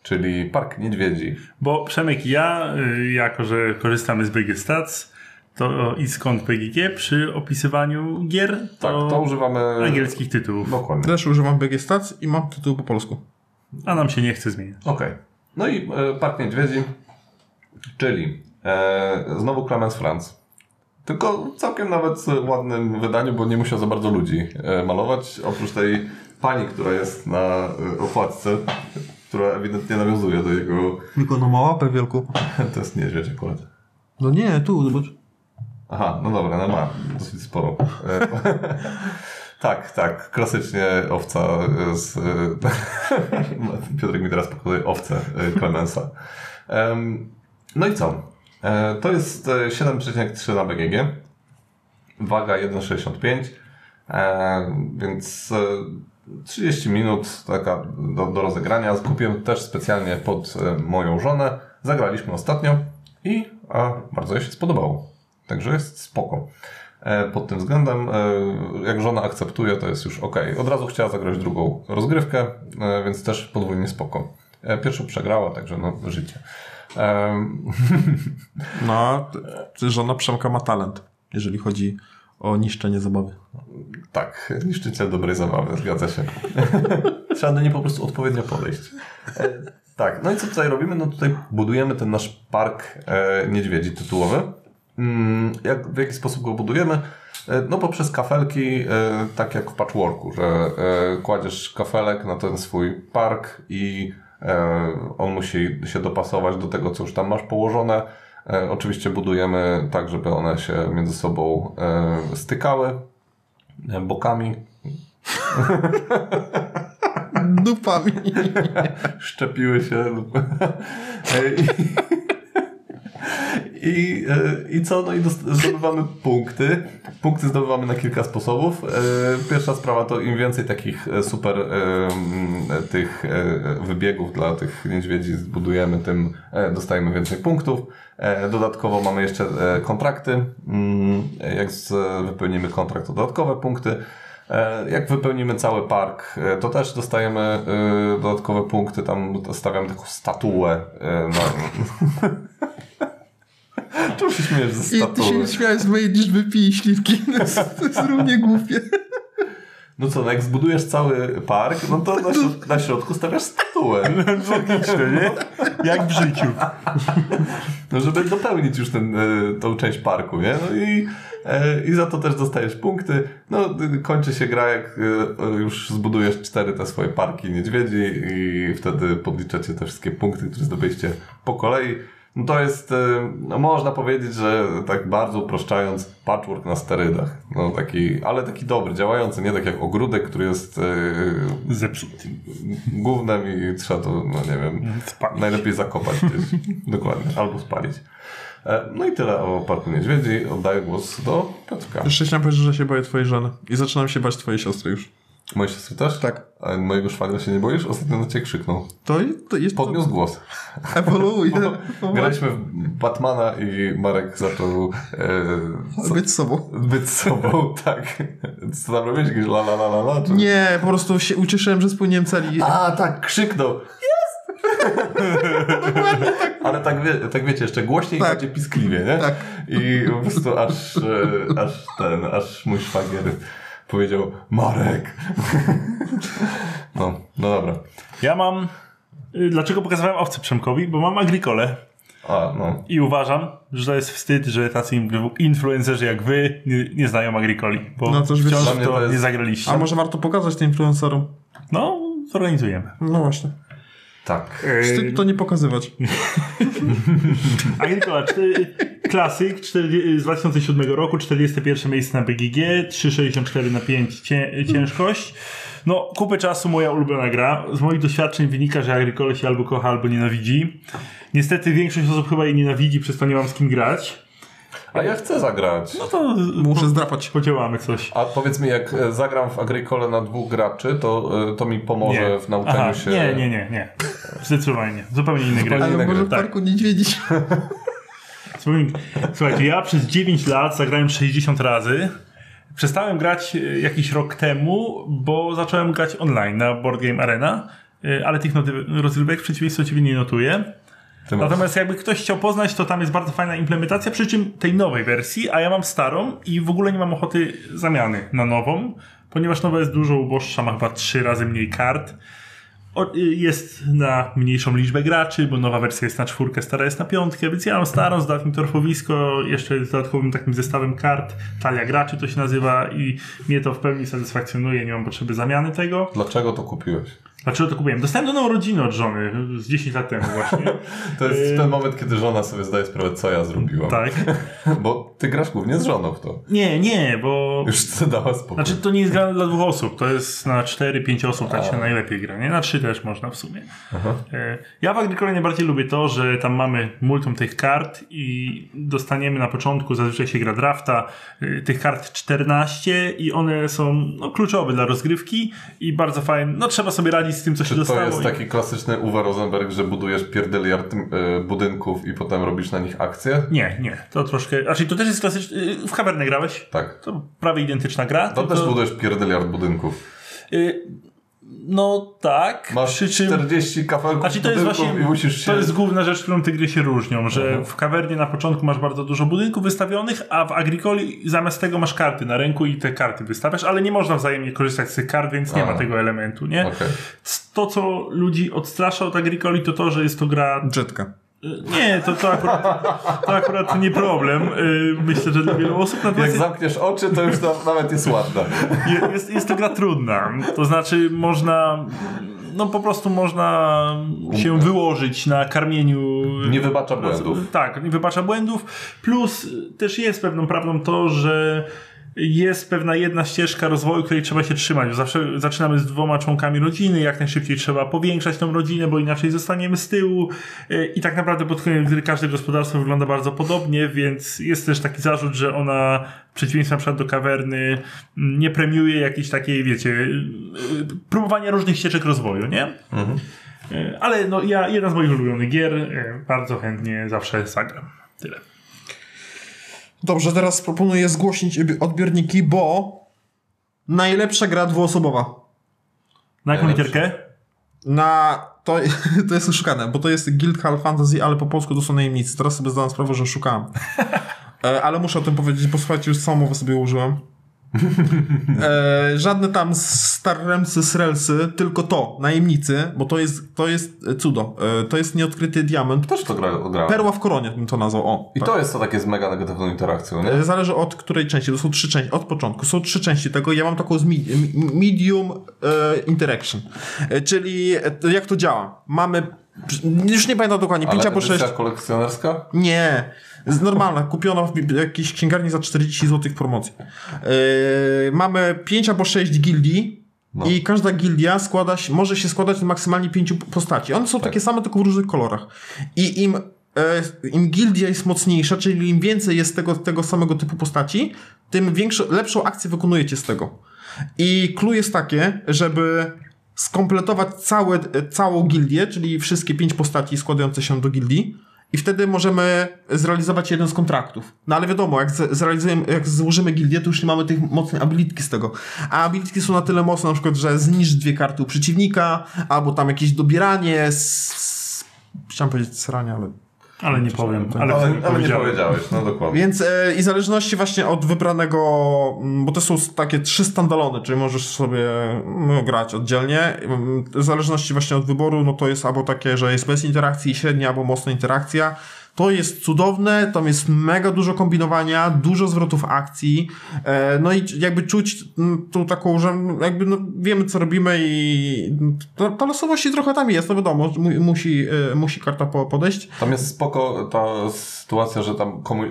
Speaker 3: czyli Park Niedźwiedzi.
Speaker 2: Bo Przemek i ja, y, jako że korzystamy z BG Stats, to i skąd PGG przy opisywaniu gier,
Speaker 3: Tak,
Speaker 2: to,
Speaker 3: to używamy.
Speaker 2: angielskich tytułów.
Speaker 3: Dokładnie.
Speaker 1: Też używam BG Stats i mam tytuł po polsku.
Speaker 2: A nam się nie chce zmieniać.
Speaker 3: Okej. No i e, Park Niedźwiedzi, czyli e, znowu Clemens Franz. Tylko całkiem nawet w ładnym wydaniu, bo nie musiał za bardzo ludzi e, malować. Oprócz tej pani, która jest na e, okładce, która ewidentnie nawiązuje do jego...
Speaker 1: Tylko no ma łapę wielką.
Speaker 3: To jest niedźwiedź akurat.
Speaker 1: No nie, tu, zobacz.
Speaker 3: Aha, no dobra, no ma dosyć sporo. E, tak, tak, klasycznie owca z... e, Piotrek mi teraz pokazuje owcę e, Clemensa. Em, no i co? E, to jest e, 7,3 na BGG. Waga 1,65. E, więc e, 30 minut taka do, do rozegrania. Kupiłem też specjalnie pod e, moją żonę. Zagraliśmy ostatnio i a, bardzo jej się spodobało. Także jest spoko. E, Pod tym względem, e, jak żona akceptuje, to jest już ok. Od razu chciała zagrać drugą rozgrywkę, e, więc też podwójnie spoko. E, Pierwszą przegrała, także no życie. E, Em,
Speaker 1: No, t- t- żona Przemka ma talent, jeżeli chodzi o niszczenie zabawy.
Speaker 3: Tak, niszczyciel dobrej zabawy, zgadza się. Trzeba do niej po prostu odpowiednio podejść. E, Tak, no i co tutaj robimy? No tutaj budujemy ten nasz park e, niedźwiedzi tytułowy. Mm, jak, w jaki sposób go budujemy? E, no poprzez kafelki, e, tak jak w patchworku, że e, kładziesz kafelek na ten swój park i e, on musi się dopasować do tego, co już tam masz położone. E, oczywiście budujemy tak, żeby one się między sobą e, stykały bokami,
Speaker 1: Dupami.
Speaker 3: szczepiły się lub... I, I, e, I co? No i dost- zdobywamy punkty. Punkty zdobywamy na kilka sposobów. E, Pierwsza sprawa to im więcej takich e, super e, m, tych e, wybiegów dla tych niedźwiedzi zbudujemy, tym e, dostajemy więcej punktów. E, Dodatkowo mamy jeszcze e, kontrakty. Mm, Jak z, wypełnimy kontrakt, to dodatkowe punkty. E, Jak wypełnimy cały park, e, to też dostajemy e, dodatkowe punkty. Tam stawiam taką statuę. e, Na... Czemu się śmiejesz ze
Speaker 1: I ty się
Speaker 3: statuły?
Speaker 1: nie śmiałeś z mojej liczby pi i śliwki. To jest, to jest równie głupie.
Speaker 3: No co, no jak zbudujesz cały park, no to na, środ- na środku stawiasz statuę.
Speaker 2: Logiczne, nie? Jak w życiu.
Speaker 3: No, żeby dopełnić już ten, e, tą część parku, nie? No i, e, i za to też dostajesz punkty. No, y, kończy się gra, jak e, e, już zbudujesz cztery te swoje parki niedźwiedzi i wtedy podliczacie te wszystkie punkty, które zdobyliście po kolei. No to jest, e, no można powiedzieć, że tak bardzo upraszczając, patchwork na sterydach. No taki, ale taki dobry, działający, nie tak jak ogródek, który jest e,
Speaker 2: Zepsuty.
Speaker 3: gównem i trzeba to, no nie wiem,
Speaker 2: Spalić.
Speaker 3: Najlepiej zakopać gdzieś. Dokładnie. Albo spalić. E, No i tyle o Parku Niedźwiedzi. Oddaję głos do Piotrka.
Speaker 1: Jeszcze chciałem powiedzieć, że się boję twojej żony. I zaczynam się bać twojej siostry już.
Speaker 3: Mojej siostry też?
Speaker 1: Tak.
Speaker 3: A mojego szwagra się nie boisz? Ostatnio na ciebie krzyknął.
Speaker 1: To, to jest...
Speaker 3: Podniósł głos.
Speaker 1: Ewoluuje.
Speaker 3: Graliśmy w Batmana i Marek zaczął e, so,
Speaker 1: Być sobą.
Speaker 3: być sobą, tak. Co tam robisz? Jakieś la la la la la? Czy...
Speaker 1: Nie, po prostu się ucieszyłem, że spłyniłem celi.
Speaker 3: A, tak, krzyknął. Jest! Ale tak, wie, tak wiecie, jeszcze głośniej
Speaker 1: Tak.
Speaker 3: i bardziej piskliwie, nie?
Speaker 1: Tak.
Speaker 3: I po prostu aż, e, aż ten, aż mój szwagier powiedział Marek. No, no dobra.
Speaker 2: Ja mam... y, Dlaczego pokazywałem owce Przemkowi? Bo mam agrikole.
Speaker 3: A, no.
Speaker 2: I uważam, że to jest wstyd, że tacy influ- influencerzy jak wy nie, nie znają agrikoli. Bo
Speaker 1: No to już wiesz,
Speaker 2: wciąż
Speaker 3: dla
Speaker 2: w
Speaker 3: mnie
Speaker 2: to
Speaker 3: to jest-
Speaker 2: nie zagraliście.
Speaker 1: A może warto pokazać tym influencerom?
Speaker 2: No, zorganizujemy.
Speaker 1: No właśnie.
Speaker 3: Tak.
Speaker 1: Wstyd to nie pokazywać.
Speaker 2: Agricola, cztery, klasyk cztery, z 2007 roku, 41 miejsce na BGG, 3,64 na 5 cię, ciężkość. No, kupę czasu moja ulubiona gra. Z moich doświadczeń wynika, że Agricole się albo kocha, albo nienawidzi. Niestety większość osób chyba jej nienawidzi, przez to nie mam z kim grać.
Speaker 3: A ja chcę zagrać.
Speaker 2: No to
Speaker 1: Muszę zdrapać.
Speaker 2: podziałamy coś.
Speaker 3: A powiedz mi, jak e, zagram w Agricole na dwóch graczy, to, e, to mi pomoże w nauczeniu
Speaker 2: Aha,
Speaker 3: się...
Speaker 2: Nie, nie, nie, nie. Zdecydowanie. nie. Zupełnie inny gry.
Speaker 3: Ale
Speaker 1: Ale
Speaker 3: inne
Speaker 1: może
Speaker 3: gry,
Speaker 1: w
Speaker 2: tak.
Speaker 1: parku niedźwiedzi.
Speaker 2: Słuchaj- Słuchajcie, ja przez 9 lat zagrałem 60 razy. Przestałem grać e, jakiś rok temu, bo zacząłem grać online na Board Game Arena, e, ale tych noty- rozrywek w przeciwieństwie do ciebie nie notuję.
Speaker 3: Ty masz.
Speaker 2: Natomiast jakby ktoś chciał poznać, to tam jest bardzo fajna implementacja, przy czym tej nowej wersji, a ja mam starą i w ogóle nie mam ochoty zamiany na nową, ponieważ nowa jest dużo uboższa, ma chyba trzy razy mniej kart. O, y, jest na mniejszą liczbę graczy, bo nowa wersja jest na czwórkę, stara jest na piątkę, więc ja mam starą, z dodatkiem torfowisko, jeszcze z dodatkowym takim zestawem kart, talia graczy to się nazywa i mnie to w pełni satysfakcjonuje, nie mam potrzeby zamiany tego.
Speaker 3: Dlaczego to kupiłeś?
Speaker 2: Dlaczego to kupiłem? Dostałem do urodziny od żony z 10 lat temu właśnie.
Speaker 3: To jest
Speaker 2: Y,
Speaker 3: ten moment, kiedy żona sobie zdaje sprawę, co ja zrobiłam.
Speaker 2: tak.
Speaker 3: Bo ty grasz głównie z żoną w to.
Speaker 2: Nie, nie, bo.
Speaker 3: Już co dała spokój.
Speaker 2: Znaczy to nie jest gra dla dwóch osób, to jest na 4-5 osób, tak się najlepiej gra, nie? Na 3 też można w sumie. E, Ja w Agricole najbardziej lubię to, że tam mamy multum tych kart i dostaniemy na początku, zazwyczaj się gra drafta, e, tych kart 14 i one są no, kluczowe dla rozgrywki i bardzo fajne, no trzeba sobie radzić z tym, co się
Speaker 3: Czy
Speaker 2: dostało.
Speaker 3: to jest
Speaker 2: i-
Speaker 3: taki klasyczny Uwe Rosenberg, że budujesz pierdeliard y, budynków i potem robisz na nich akcje?
Speaker 2: Nie, nie, to troszkę, znaczy to też jest klasyczne, w Cavernę grałeś?
Speaker 3: Tak.
Speaker 2: To prawie identyczna gra.
Speaker 3: To
Speaker 2: tylko-
Speaker 3: też budujesz pierdeliard budynków.
Speaker 2: y, No tak,
Speaker 3: Masz
Speaker 2: przy czym...
Speaker 3: 40 kafelków
Speaker 2: Znaczy to jest
Speaker 3: budynków
Speaker 2: właśnie,
Speaker 3: i musisz się...
Speaker 2: to jest główna rzecz, którą te gry się różnią, że w kawernie na początku masz bardzo dużo budynków wystawionych, a w Agricoli zamiast tego masz karty na ręku i te karty wystawiasz, ale nie można wzajemnie korzystać z tych kart, więc nie
Speaker 3: A.
Speaker 2: ma tego elementu, nie?
Speaker 3: Okej.
Speaker 2: To, co ludzi odstrasza od Agricoli, to to, że jest to gra... y,
Speaker 1: Jetka.
Speaker 2: Nie, to, to, akurat, to akurat nie problem. Y, Myślę, że dla wielu
Speaker 3: Jak
Speaker 2: osób... Natomiast
Speaker 3: zamkniesz oczy, to już tam, nawet jest ładna.
Speaker 2: Je- jest, jest to gra trudna. To znaczy, można. No po prostu można się wyłożyć na karmieniu.
Speaker 3: Nie wybacza błędów.
Speaker 2: Tak, nie wybacza błędów. Plus y, też jest pewną prawdą to, że jest pewna jedna ścieżka rozwoju, której trzeba się trzymać. Zawsze zaczynamy z dwoma członkami rodziny, jak najszybciej trzeba powiększać tą rodzinę, bo inaczej zostaniemy z tyłu. I tak naprawdę pod koniec gry każde gospodarstwo wygląda bardzo podobnie, więc jest też taki zarzut, że ona w przeciwieństwie na przykład do kawerny mm, nie premiuje jakiejś takiej, wiecie, y, próbowania różnych ścieżek rozwoju, nie? Mhm. Ale no, ja jedna z moich ulubionych gier, e, bardzo chętnie zawsze zagram. Tyle.
Speaker 1: Dobrze, teraz proponuję zgłośnić odbiorniki, bo najlepsza gra dwuosobowa.
Speaker 2: Na jaką literkę?
Speaker 1: Na. To, to jest szukane, bo to jest Guild Hall Fantasy, ale po polsku to są najemnicy. Teraz sobie zdałem sprawę, że szukałem. E, ale muszę o tym powiedzieć, bo słuchajcie, już samą sobie użyłem. e, żadne tam starremsy, srelsy, tylko to, najemnicy, bo to jest, to jest cudo. E, to jest nieodkryty diament.
Speaker 3: Też to gra, grałem.
Speaker 1: Perła w koronie bym to nazwał. O,
Speaker 3: I tak. to jest to takie z mega negatywną interakcją, nie?
Speaker 1: Zależy od której części. To są trzy części, od początku. Są trzy części tego. Ja mam taką z mi, medium e, interaction. E, czyli jak to działa? Mamy, już nie pamiętam dokładnie, Ale 5 albo 6.
Speaker 3: kolekcjonerska?
Speaker 1: Nie. Normalna, kupiona w jakiejś księgarni za 40 zł promocji. Yy, mamy 5 albo 6 gildii. No. I każda gildia składa się, może się składać na maksymalnie 5 postaci. One są tak. takie same, tylko w różnych kolorach. I im, yy, im gildia jest mocniejsza, czyli im więcej jest tego, tego samego typu postaci, tym większą, lepszą akcję wykonujecie z tego. I clue jest takie, żeby skompletować całe, e, całą gildię, czyli wszystkie 5 postaci składające się do gildii. I wtedy możemy zrealizować jeden z kontraktów. No ale wiadomo, jak zrealizujemy, jak złożymy gildię, to już nie mamy tych mocnych abilitki z tego. A abilitki są na tyle mocne, na przykład, że zniszcz dwie karty u przeciwnika, albo tam jakieś dobieranie, s... chciałem powiedzieć srania, ale...
Speaker 2: Ale nie powiem.
Speaker 3: Tak. Ale, ale, ale nie powiedziałeś, no dokładnie.
Speaker 1: Więc e, i zależności właśnie od wybranego, mm, bo to są takie trzy standalone, czyli możesz sobie no, grać oddzielnie. Mm, W zależności właśnie od wyboru, no to jest albo takie, że jest bez interakcji, średnia albo mocna interakcja. To jest cudowne, tam jest mega dużo kombinowania, dużo zwrotów akcji, no i jakby czuć mm, tą taką, że jakby no wiemy co robimy i ta, ta losowość trochę tam jest, no wiadomo, musi, e, musi karta podejść.
Speaker 3: Tam jest spoko ta sytuacja, że tam komuś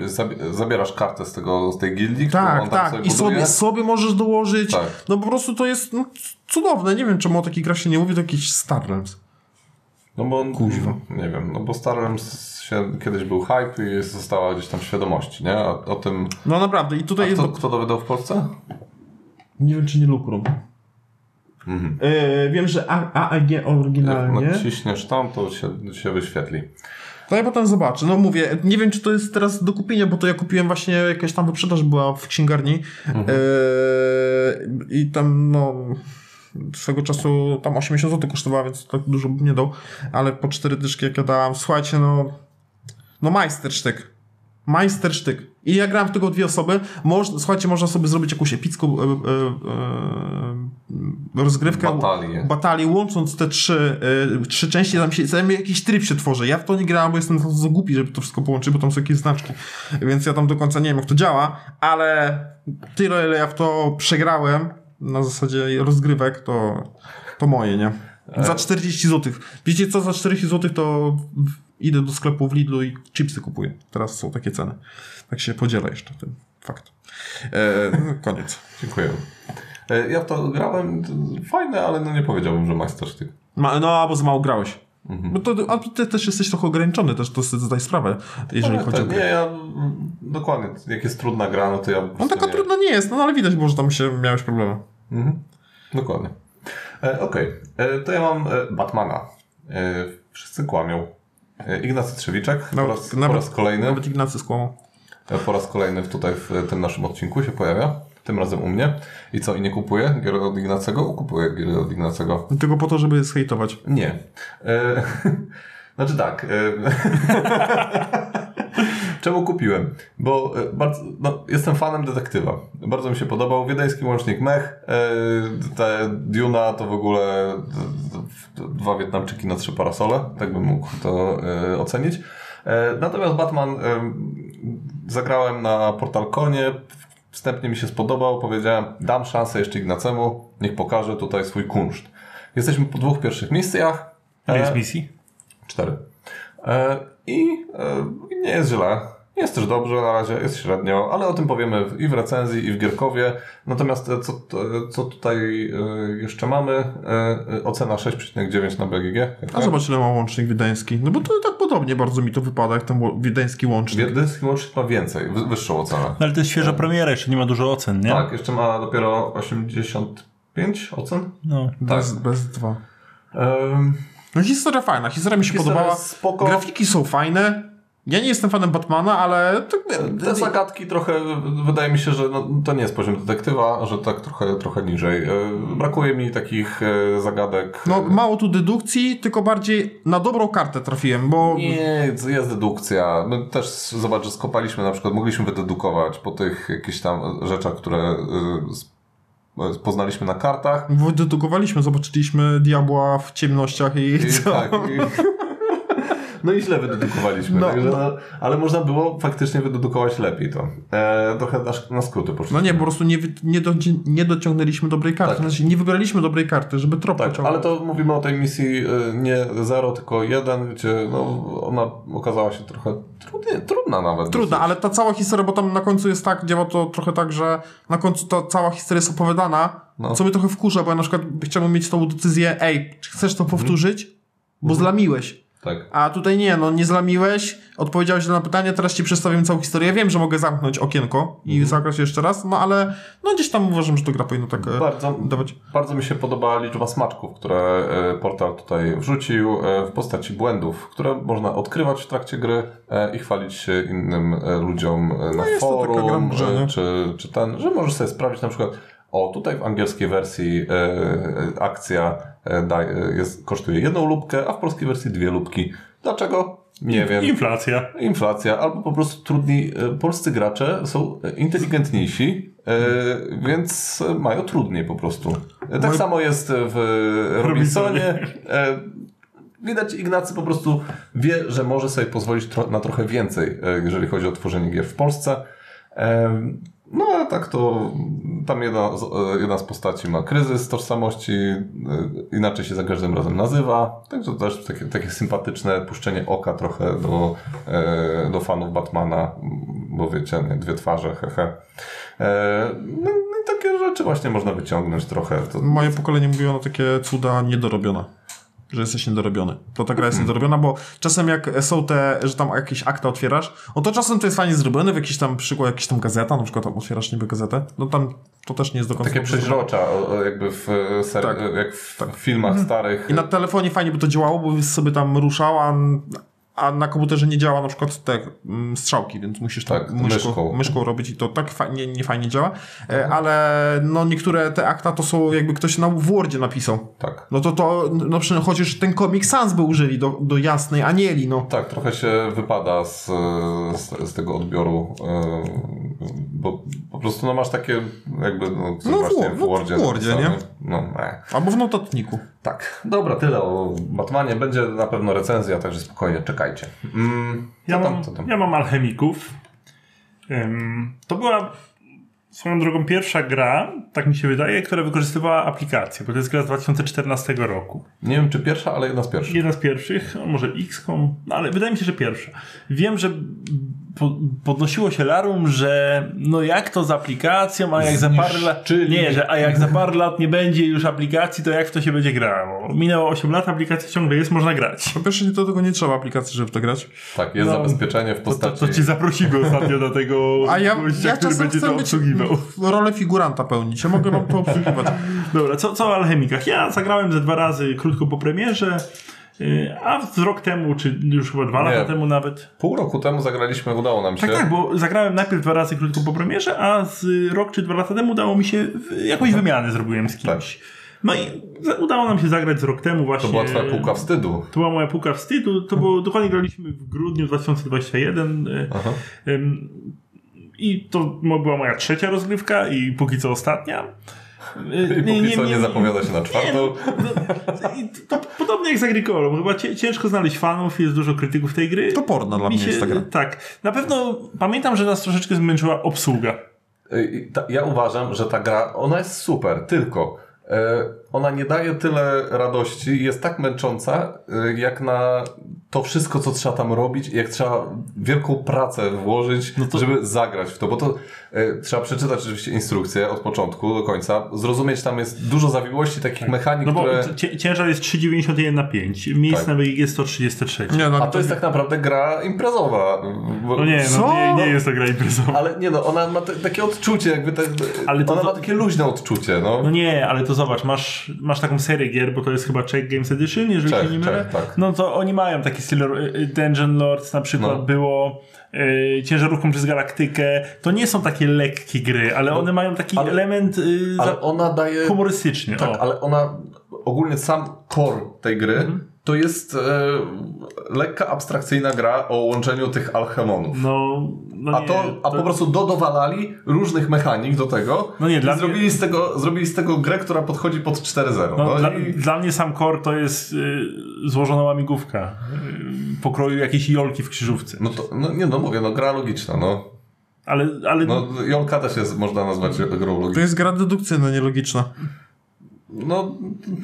Speaker 3: zabierasz kartę z tego, z tej gildii,
Speaker 1: tak, tak. Sobie i sobie, sobie możesz dołożyć, tak. no po prostu to jest no, cudowne, nie wiem czemu o takich grach się nie mówi, to jakiś Starlands.
Speaker 3: No bo, Kuźwa. nie wiem, no bo Starlands kiedyś był hype i została gdzieś tam świadomości, nie? O, o tym.
Speaker 1: No naprawdę, i tutaj
Speaker 3: A
Speaker 1: jest.
Speaker 3: Kto, kto to wydał w Polsce?
Speaker 1: Nie wiem, czy nie Lukrum. Mhm. No, Yy, wiem, że AEG oryginalnie.
Speaker 3: Jak naciśniesz tam, to się, się wyświetli.
Speaker 1: To ja potem zobaczę. No mówię, nie wiem, czy to jest teraz do kupienia, bo to ja kupiłem właśnie jakaś tam wyprzedaż była w księgarni. Mhm. Yy, I tam no swego czasu tam 80 zł kosztowała, więc tak dużo bym nie dał, ale po cztery dyszki jak ja dałem, słuchajcie, no no majstersztyk. Majstersztyk. I ja grałem w tego dwie osoby. Można, słuchajcie, można sobie zrobić jakąś epicką e, e, e, rozgrywkę.
Speaker 3: Batalię.
Speaker 1: Batalię, łącząc te trzy, y, trzy części, tam się tam jakiś tryb się tworzy. Ja w to nie grałem, bo jestem za głupi, żeby to wszystko połączyć, bo tam są jakieś znaczki. Więc ja tam do końca nie wiem, jak to działa, ale tyle, ile ja w to przegrałem, na zasadzie rozgrywek, to, to moje, nie? Za 40 zł. Wiecie co, za 40 zł to idę do sklepu w Lidlu i chipsy kupuję. Teraz są takie ceny. Tak się podzielę jeszcze tym. Fakt. E, koniec.
Speaker 3: Dziękuję. E, ja w to grałem, fajne, ale no nie powiedziałbym, że majstersztyk.
Speaker 1: Ma, no, albo za mało grałeś. Mhm. Bo to, a ty też jesteś trochę ograniczony, też to sobie zdaj sprawę, jeżeli
Speaker 3: ale
Speaker 1: chodzi
Speaker 3: tak,
Speaker 1: o gry.
Speaker 3: Nie, ja mm, dokładnie, jak jest trudna gra, no to ja...
Speaker 1: No taka
Speaker 3: nie...
Speaker 1: trudna nie jest, no ale widać było, że tam się miałeś problemy.
Speaker 3: Mhm. Dokładnie. E, Okej, okay. to ja mam Batmana. E, wszyscy kłamią. E, Ignacy Trzewiczek nawet, po, raz, nawet, po raz kolejny. E,
Speaker 1: Nawet Ignacy skłamał.
Speaker 3: Po raz kolejny tutaj w tym naszym odcinku się pojawia. Tym razem u mnie. I co, i nie kupuję gier od Ignacego? Kupuję gier od Ignacego.
Speaker 1: Tylko po to, żeby zhejtować.
Speaker 3: Nie. E, znaczy tak. E, Czemu kupiłem? Bo bardzo, no, jestem fanem detektywa. Bardzo mi się podobał. Wiedeński łącznik mech. Yy, te Duna to w ogóle dwa Wietnamczyki na trzy parasole. Tak bym mógł to yy, ocenić. Yy, natomiast Batman zagrałem na portal Konie. Wstępnie mi się spodobał. Powiedziałem, dam szansę jeszcze Ignacemu. Niech pokaże tutaj swój kunszt. Jesteśmy po dwóch pierwszych misjach. E,
Speaker 2: E, Ile jest misji?
Speaker 3: Cztery. E, I nie jest źle. Jest też dobrze na razie, jest średnio, ale o tym powiemy w- i w recenzji, i w Gierkowie. Natomiast e, co, t- co tutaj e, jeszcze mamy? E, e, Ocena 6,9 na BGG.
Speaker 1: A zobacz, ile ma łącznik wiedeński. No bo to tak podobnie bardzo mi to wypada, jak ten ło- wiedeński łącznik.
Speaker 3: Wiedeński łącznik ma więcej, wy- wyższą ocenę.
Speaker 2: No ale to jest świeża premiera, jeszcze nie ma dużo ocen, nie?
Speaker 3: Tak, jeszcze ma dopiero 85 ocen.
Speaker 2: No.
Speaker 3: tak.
Speaker 1: Bez, bez dwa.
Speaker 3: Ehm,
Speaker 1: No historia fajna, historia mi się
Speaker 3: Historia
Speaker 1: podobała.
Speaker 3: E, jest spoko.
Speaker 1: Grafiki są fajne. Ja nie jestem fanem Batmana, ale to,
Speaker 3: Te zagadki trochę, wydaje mi się, że no, to nie jest poziom detektywa, że tak trochę, trochę niżej. E, Brakuje mi takich e, zagadek.
Speaker 1: no, mało tu dedukcji, tylko bardziej na dobrą kartę trafiłem, bo
Speaker 3: Nie, jest dedukcja. My też zobacz, że skopaliśmy na przykład, mogliśmy wydedukować po tych jakichś tam rzeczach, które y, z- y, poznaliśmy na kartach.
Speaker 1: wydedukowaliśmy, zobaczyliśmy diabła w ciemnościach i,
Speaker 3: I,
Speaker 1: co?
Speaker 3: tak, i, no i źle wydedukowaliśmy.
Speaker 1: No,
Speaker 3: także,
Speaker 1: no.
Speaker 3: no, ale można było faktycznie wydedukować lepiej to. E, trochę na, sz- na skróty poszliśmy.
Speaker 1: No nie, po prostu nie, wy- nie, do, nie dociągnęliśmy dobrej karty.
Speaker 3: Tak.
Speaker 1: Znaczy, nie wybraliśmy dobrej karty, żeby trop
Speaker 3: Tak,
Speaker 1: pociągnąć.
Speaker 3: ale to mówimy o tej misji y, nie 0, tylko 1, gdzie no, ona okazała się trochę trudny, trudna nawet.
Speaker 1: Trudna,
Speaker 3: dosyć.
Speaker 1: ale ta cała historia, bo tam na końcu jest tak, działa to trochę tak, że na końcu ta cała historia jest opowiadana,
Speaker 3: No.
Speaker 1: co mnie trochę wkurza, bo ja na przykład chciałbym mieć tą decyzję, ej, czy chcesz
Speaker 3: Mhm.
Speaker 1: to powtórzyć? Bo zlamiłeś.
Speaker 3: Tak.
Speaker 1: A tutaj nie, no nie zlamiłeś, odpowiedziałeś na pytanie, teraz ci przedstawiam całą historię. Ja wiem, że mogę zamknąć okienko
Speaker 3: Mhm.
Speaker 1: i zagrać jeszcze raz, no ale no gdzieś tam uważam, że to gra powinno tak e,
Speaker 3: Bardzo,
Speaker 1: dawać.
Speaker 3: bardzo mi się podoba liczba smaczków, które e, portal tutaj wrzucił e, w postaci błędów, które można odkrywać w trakcie gry e, i chwalić się innym e, ludziom e, na
Speaker 1: No jest to taka gra w
Speaker 3: forum,
Speaker 1: grze,
Speaker 3: e,
Speaker 1: nie?
Speaker 3: czy, czy ten, że możesz sobie sprawdzić na przykład o, tutaj w angielskiej wersji e, e, akcja e, daj, e, jest, kosztuje jedną lubkę, a w polskiej wersji dwie lubki. Dlaczego? Nie wiem.
Speaker 2: Inflacja.
Speaker 3: Inflacja, albo po prostu trudni. e, Polscy gracze są e, inteligentniejsi, e, więc e, mają trudniej po prostu. E, Tak
Speaker 1: Moi-
Speaker 3: samo jest e, w e, Robinsonie. E, Widać, Ignacy po prostu wie, że może sobie pozwolić tro na trochę więcej, e, jeżeli chodzi o tworzenie gier w Polsce. E, No a tak to tam jedna z, e, jedna z postaci ma kryzys tożsamości, e, inaczej się za każdym razem nazywa, także też takie, takie sympatyczne puszczenie oka trochę do, e, do fanów Batmana, bo wiecie, nie, dwie twarze, hehe. E, No i takie rzeczy właśnie można wyciągnąć trochę. To,
Speaker 1: Moje pokolenie mówiło na takie cuda niedorobione. Że jesteś niedorobiony. To ta gra
Speaker 3: Mhm.
Speaker 1: jest niedorobiona, bo czasem jak są te, że tam jakieś akta otwierasz, no to czasem to jest fajnie zrobione, w jakiś tam przykład, jakaś tam gazeta, na przykład tam otwierasz niby gazetę, no tam to też nie jest do końca.
Speaker 3: Takie
Speaker 1: dobrze
Speaker 3: przeźrocza, o- o, jakby w, e, ser,
Speaker 1: Tak.
Speaker 3: e, jak w filmach starych.
Speaker 1: I na telefonie fajnie by to działało, bo byś sobie tam ruszał, a, a na komputerze nie działa na przykład te mm, strzałki, więc musisz tam
Speaker 3: Tak,
Speaker 1: myszką,
Speaker 3: myszką. Mhm.
Speaker 1: myszką. robić i to tak fajnie, nie fajnie działa. E, Ale no niektóre te akta to są jakby ktoś na, w Wordzie napisał.
Speaker 3: Tak.
Speaker 1: No to to, no przynajmniej chociaż ten komik Sans by użyli do, do Jasnej Anieli, no.
Speaker 3: Tak, trochę się wypada z, e, z, z tego odbioru, e, bo po prostu no, masz takie jakby no,
Speaker 1: No,
Speaker 3: właśnie
Speaker 1: w-
Speaker 3: w
Speaker 1: no,
Speaker 3: Wordzie.
Speaker 1: w Wordzie,
Speaker 3: napisane.
Speaker 1: nie?
Speaker 3: No, e.
Speaker 1: Albo w notatniku.
Speaker 3: Tak, dobra, tyle o Batmanie. Będzie na pewno recenzja, także spokojnie, czekajcie. Mm,
Speaker 2: Ja
Speaker 3: co
Speaker 2: mam,
Speaker 3: tam, co tam?
Speaker 2: ja mam alchemików. Ym, to była swoją drogą pierwsza gra, tak mi się wydaje, która wykorzystywała aplikację, bo to jest gra z 2014 roku.
Speaker 3: Nie wiem, czy pierwsza, ale jedna z pierwszych.
Speaker 2: Jedna z pierwszych, a może XCOM, no ale wydaje mi się, że pierwsza. Wiem, że po, podnosiło się larum, że no jak to z aplikacją, a jak za parę lat.
Speaker 3: Zniszczyli.
Speaker 2: Nie, że a jak za parę lat nie będzie już aplikacji, to jak w to się będzie grało? Minęło 8 lat, aplikacja ciągle jest, można grać.
Speaker 1: Po pierwsze do tego nie trzeba aplikacji, żeby w to grać.
Speaker 3: Tak, jest
Speaker 2: No,
Speaker 3: zabezpieczenie w
Speaker 2: To, to,
Speaker 3: postaci.
Speaker 2: to cię zaprosimy ostatnio do tego
Speaker 1: A ja,
Speaker 2: gościa,
Speaker 1: ja
Speaker 2: który
Speaker 1: czasem
Speaker 2: będzie
Speaker 1: chcę
Speaker 2: to
Speaker 1: być
Speaker 2: obsługiwał.
Speaker 1: rolę figuranta pełnić, ja mogę wam to obsługiwać.
Speaker 2: Dobra, co, co o alchemikach? Ja zagrałem ze dwa razy krótko po premierze, y, a z rok temu, czy już chyba dwa
Speaker 3: Nie.
Speaker 2: lata temu nawet.
Speaker 3: Pół roku temu zagraliśmy, udało nam się.
Speaker 2: Tak, tak, bo zagrałem najpierw dwa razy krótko po premierze, a z y, rok czy dwa lata temu udało mi się, w- jakąś
Speaker 3: Mhm.
Speaker 2: wymianę zrobiłem z kimś. No i za- udało nam się zagrać z rok temu właśnie.
Speaker 3: To była twoja półka Mhm. wstydu.
Speaker 2: To była moja półka wstydu, to było, dokładnie graliśmy w grudniu 2021. y,
Speaker 3: Aha.
Speaker 2: Ym, I to mo- była moja trzecia rozgrywka i póki co ostatnia. Yy,
Speaker 3: I póki co nie, zapowiada się na
Speaker 2: Nie, no,
Speaker 3: czwartą.
Speaker 2: no, i to, to podobnie jak z Agricolą. Chyba cie- ciężko znaleźć fanów, jest dużo krytyków tej gry.
Speaker 1: To porno dla
Speaker 2: Mi
Speaker 1: mnie jest ta gra.
Speaker 2: Tak. Na pewno pamiętam, że nas troszeczkę zmęczyła obsługa.
Speaker 3: Y, I ta, ja uważam, że ta gra, ona jest super, tylko y, e, ona nie daje tyle radości i jest tak męcząca, e, y, jak na to wszystko, co trzeba tam robić, jak trzeba wielką pracę włożyć,
Speaker 2: No to-
Speaker 3: żeby zagrać w to, bo to e, trzeba przeczytać oczywiście instrukcję od początku do końca, zrozumieć tam jest dużo zawiłości takich mechanik,
Speaker 2: No bo
Speaker 3: które...
Speaker 2: cie- ciężar jest 3,91 na 5, miejsce
Speaker 3: Tak.
Speaker 2: na BG 133.
Speaker 1: Nie, no,
Speaker 3: A to jest tak naprawdę gra imprezowa. bo-
Speaker 2: No nie,
Speaker 1: Co?
Speaker 2: no nie, nie jest to gra imprezowa.
Speaker 3: Ale nie no, ona ma te, takie odczucie, jakby tak.
Speaker 2: Ale to-
Speaker 3: ona ma
Speaker 2: to-
Speaker 3: takie luźne odczucie, no.
Speaker 2: No nie, ale to zobacz, masz, masz taką serię gier, bo to jest chyba Czech Games Edition, jeżeli
Speaker 3: Czech,
Speaker 2: się nie mylę.
Speaker 3: Czech, tak.
Speaker 2: No to oni mają taki styl y, y, Dungeon Lords na przykład
Speaker 3: No.
Speaker 2: było y, ciężarówką przez galaktykę. To nie są takie lekkie gry, ale one mają taki
Speaker 3: No, ale-
Speaker 2: element y, za-
Speaker 3: ale ona daje.
Speaker 2: humorystyczny.
Speaker 3: Tak,
Speaker 2: o.
Speaker 3: ale ona ogólnie sam core tej gry
Speaker 2: Mhm.
Speaker 3: to jest e, lekka abstrakcyjna gra o łączeniu tych alchemonów.
Speaker 2: No, no
Speaker 3: A,
Speaker 2: nie,
Speaker 3: to, a po prostu dodowalali różnych mechanik do tego
Speaker 2: No nie, dla
Speaker 3: i
Speaker 2: mnie-
Speaker 3: zrobili, z tego, zrobili z tego grę, która podchodzi pod 4.0.
Speaker 2: No,
Speaker 3: No,
Speaker 2: dla,
Speaker 3: i...
Speaker 2: dla mnie sam core to jest y, złożona łamigłówka y, pokroju jakiejś jolki w krzyżówce.
Speaker 3: no, to, no nie no, mówię, no gra logiczna, no.
Speaker 2: Ale, ale
Speaker 3: no Jolka też jest, można nazwać grą
Speaker 2: tak-
Speaker 1: to
Speaker 3: logiczną.
Speaker 1: jest gra dedukcyjna, nielogiczna.
Speaker 3: No,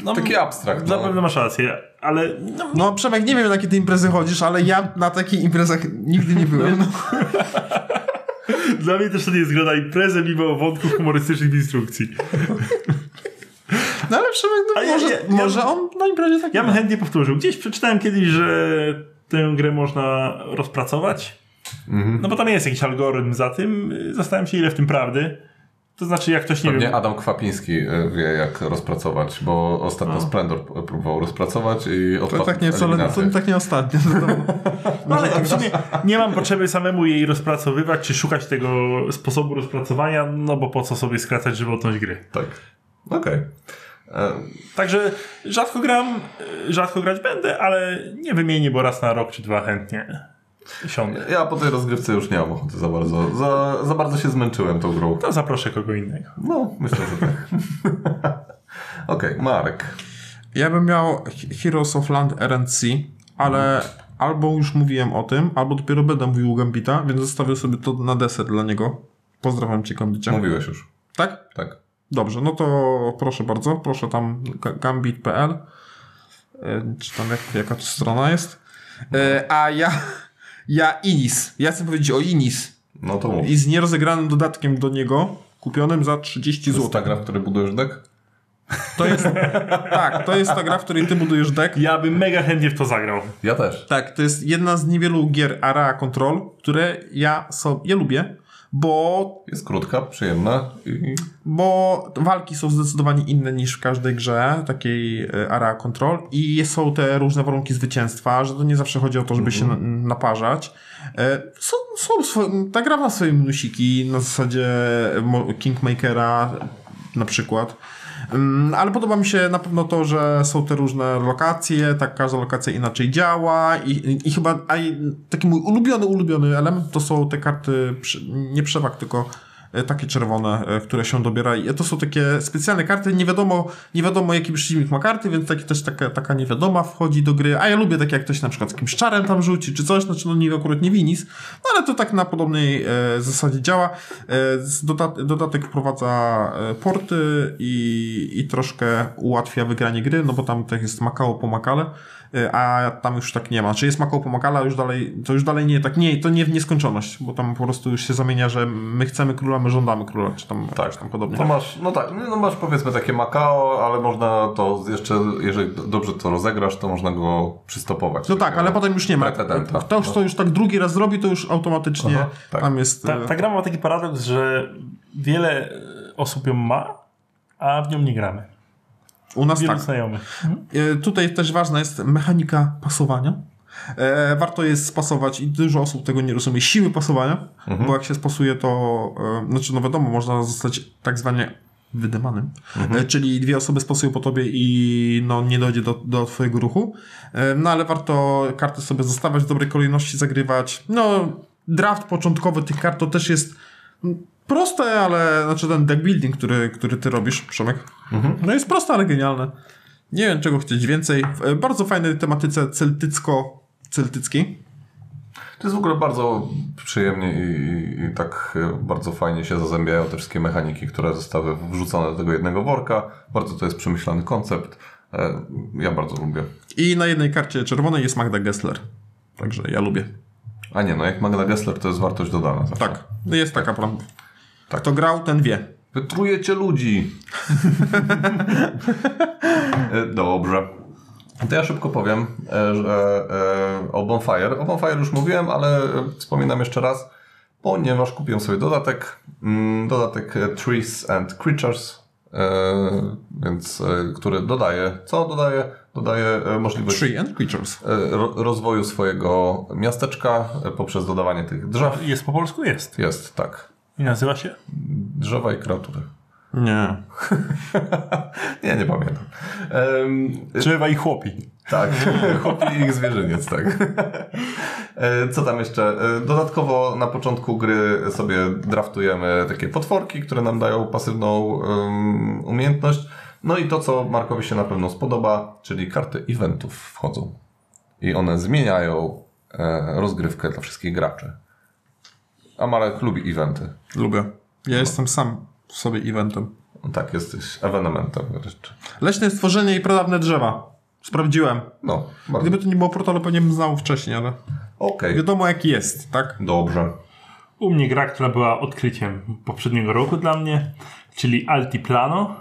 Speaker 2: no,
Speaker 3: taki abstrakt, no.
Speaker 2: Zapewne masz rację, ale no,
Speaker 1: No Przemek, nie wiem na jakie ty imprezy chodzisz, ale ja na takich imprezach nigdy nie
Speaker 2: No.
Speaker 1: byłem.
Speaker 2: dla mnie też to nie jest gra na imprezę, mimo wątków humorystycznych w instrukcji.
Speaker 1: No ale Przemek, no
Speaker 2: A ja-
Speaker 1: może,
Speaker 2: ja- ja-
Speaker 1: może on na imprezie tak
Speaker 2: Ja bym chętnie powtórzył. Gdzieś przeczytałem kiedyś, że tę grę można rozpracować,
Speaker 3: Mhm.
Speaker 2: no bo tam jest jakiś algorytm za tym. Zastanawiam się, ile w tym prawdy. To znaczy, jak ktoś nie
Speaker 3: Pewnie
Speaker 2: wiem...
Speaker 3: Adam Kwapiński e, wie, jak rozpracować, bo ostatnio Splendor p- próbował rozpracować i
Speaker 1: To
Speaker 3: odpadł
Speaker 1: tak nie,
Speaker 3: w
Speaker 1: wcale,
Speaker 3: eliminację.
Speaker 1: to tak nie ostatnio.
Speaker 2: No ale w sumie nie mam potrzeby samemu jej rozpracowywać, czy szukać tego sposobu rozpracowania, no bo po co sobie skracać żywotność gry.
Speaker 3: Tak. Okej. E,
Speaker 2: Także rzadko gram, y, rzadko grać będę, ale nie wymienię, bo raz na rok czy dwa chętnie siądę.
Speaker 3: Ja po tej rozgrywce już nie mam ochoty za bardzo. Za, za bardzo się zmęczyłem tą grą.
Speaker 2: To zaproszę kogo innego.
Speaker 3: No, myślę, że tak. Okej, Marek.
Speaker 1: Ja bym miał He- Heroes of Land RNC, ale albo już mówiłem o tym, albo dopiero będę mówił u Gambita, więc zostawię sobie to na deser dla niego. Pozdrawiam cię, Gambicie.
Speaker 3: Mówiłeś już.
Speaker 1: Tak?
Speaker 3: Tak.
Speaker 1: Dobrze, no to proszę bardzo, proszę tam ga- gambit.pl E, czy tam jak, jaka to strona jest. E, A ja, ja Inis, ja chcę powiedzieć o Inis
Speaker 3: No to mów.
Speaker 1: i z nierozegranym dodatkiem do niego kupionym za 30
Speaker 3: To jest
Speaker 1: zł.
Speaker 3: ta gra, w której budujesz deck?
Speaker 1: To jest, tak, to jest ta gra, w której ty budujesz deck.
Speaker 2: Ja bym mega chętnie w to zagrał.
Speaker 3: Ja też.
Speaker 1: Tak, to jest jedna z niewielu gier Area Control, które ja sobie ja lubię, bo,
Speaker 3: Jest krótka, przyjemna i...
Speaker 1: bo walki są zdecydowanie inne niż w każdej grze takiej e, Area Control i są te różne warunki zwycięstwa, że to nie zawsze chodzi o to, żeby się na- naparzać. E, Są, są swoje, ta gra ma swoje minusiki na zasadzie e, mo- Kingmakera na przykład. Mm, Ale podoba mi się na pewno to, że są te różne lokacje, tak każda lokacja inaczej działa i, i, i chyba a i taki mój ulubiony, ulubiony element to są te karty, przy- nie przewag, tylko e, takie czerwone, e, które się dobiera i to są takie specjalne karty, nie wiadomo, nie wiadomo jaki przeciwnik ma karty, więc taki, też taka, taka niewiadoma wchodzi do gry, a ja lubię takie jak ktoś na przykład z kimś czarem tam rzuci czy coś, znaczy no nie akurat nie winis, no ale to tak na podobnej e, zasadzie działa. E, z dodat dodatek wprowadza e, porty i, i troszkę ułatwia wygranie gry, no bo tam tak jest Makao po Makale, e, a tam już tak nie ma. Czy jest Makao po Makale, a już dalej, to już dalej nie, tak nie, to nie w nieskończoność, bo tam po prostu już się zamienia, że my chcemy króla, my żądamy króla, czy tam, tak. czy tam podobnie.
Speaker 3: To masz, no tak, no masz powiedzmy takie Makao, ale można to jeszcze, jeżeli dobrze to rozegrasz, to można go przystopować.
Speaker 1: No tak, ale potem już nie ma.
Speaker 3: Pretendenta.
Speaker 1: Ktoś, kto już tak drugi raz zrobi, to już automatycznie
Speaker 3: no. Aha, tak.
Speaker 1: tam jest...
Speaker 2: Ta,
Speaker 1: e,
Speaker 2: ta gra ma taki paradoks, że wiele e, osób ją ma, a w nią nie gramy.
Speaker 1: u nas
Speaker 2: Wielu
Speaker 1: tak.
Speaker 2: znajomych. Mhm.
Speaker 1: E, Tutaj też ważna jest mechanika pasowania. E, Warto jest spasować i dużo osób tego nie rozumie, siły pasowania, bo jak się spasuje to, e, znaczy no wiadomo, można zostać tak zwanie wydemanym, E, czyli dwie osoby spasują po tobie i no nie dojdzie do, do twojego ruchu, E, no ale warto karty sobie zostawiać, w dobrej kolejności zagrywać, no draft początkowy tych kart to też jest mm, proste, ale znaczy ten deck building, który, który ty robisz, Przemek, no jest proste, ale genialne. Nie wiem, czego chcieć więcej. W e, bardzo fajnej tematyce celtycko-celtyckiej.
Speaker 3: To jest w ogóle bardzo przyjemnie i, i, i tak e, bardzo fajnie się zazębiają te wszystkie mechaniki, które zostały wrzucone do tego jednego worka. Bardzo to jest przemyślany koncept. E, Ja bardzo lubię.
Speaker 1: I na jednej karcie czerwonej jest Magda Gessler. Także ja lubię.
Speaker 3: A nie, no jak Magda Gessler to jest wartość dodana. zawsze.
Speaker 1: Tak, no jest taka prawda.
Speaker 3: Tak.
Speaker 1: Kto grał, ten wie.
Speaker 3: Wytrujecie ludzi. E, Dobrze. To ja szybko powiem e, że, e, o Bonfire. O Bonfire już mówiłem, ale e, wspominam jeszcze raz, ponieważ kupiłem sobie dodatek. mm, Dodatek e, Trees and Creatures, e, więc e, który dodaje. Co dodaje? Dodaje e, możliwość
Speaker 1: Tree and Creatures.
Speaker 3: e, ro- rozwoju swojego miasteczka e, poprzez dodawanie tych drzew.
Speaker 2: Jest po polsku? Jest.
Speaker 3: Jest, tak.
Speaker 2: I nazywa się?
Speaker 3: Drzewa i kreatury.
Speaker 1: Nie.
Speaker 3: Nie, nie pamiętam. Em,
Speaker 2: Drzewa i chłopi.
Speaker 3: Tak, chłopi i ich zwierzyniec, tak. E, Co tam jeszcze? E, Dodatkowo na początku gry sobie draftujemy takie potworki, które nam dają pasywną em, umiejętność. No i to, co Markowi się na pewno spodoba, czyli karty eventów wchodzą. I one zmieniają e, rozgrywkę dla wszystkich graczy. A Marek lubi eventy.
Speaker 1: Lubię. Ja jestem sam sobie eventem.
Speaker 3: Tak, jesteś ewenementem wreszcz.
Speaker 1: Leśne stworzenie i pradawne drzewa. Sprawdziłem.
Speaker 3: No, bardzo.
Speaker 1: Gdyby to nie było portalu, pewnie bym znał wcześniej, ale
Speaker 3: Okej,
Speaker 1: wiadomo jaki jest, tak?
Speaker 3: dobrze.
Speaker 2: U mnie gra, która była odkryciem poprzedniego roku dla mnie, czyli Altiplano.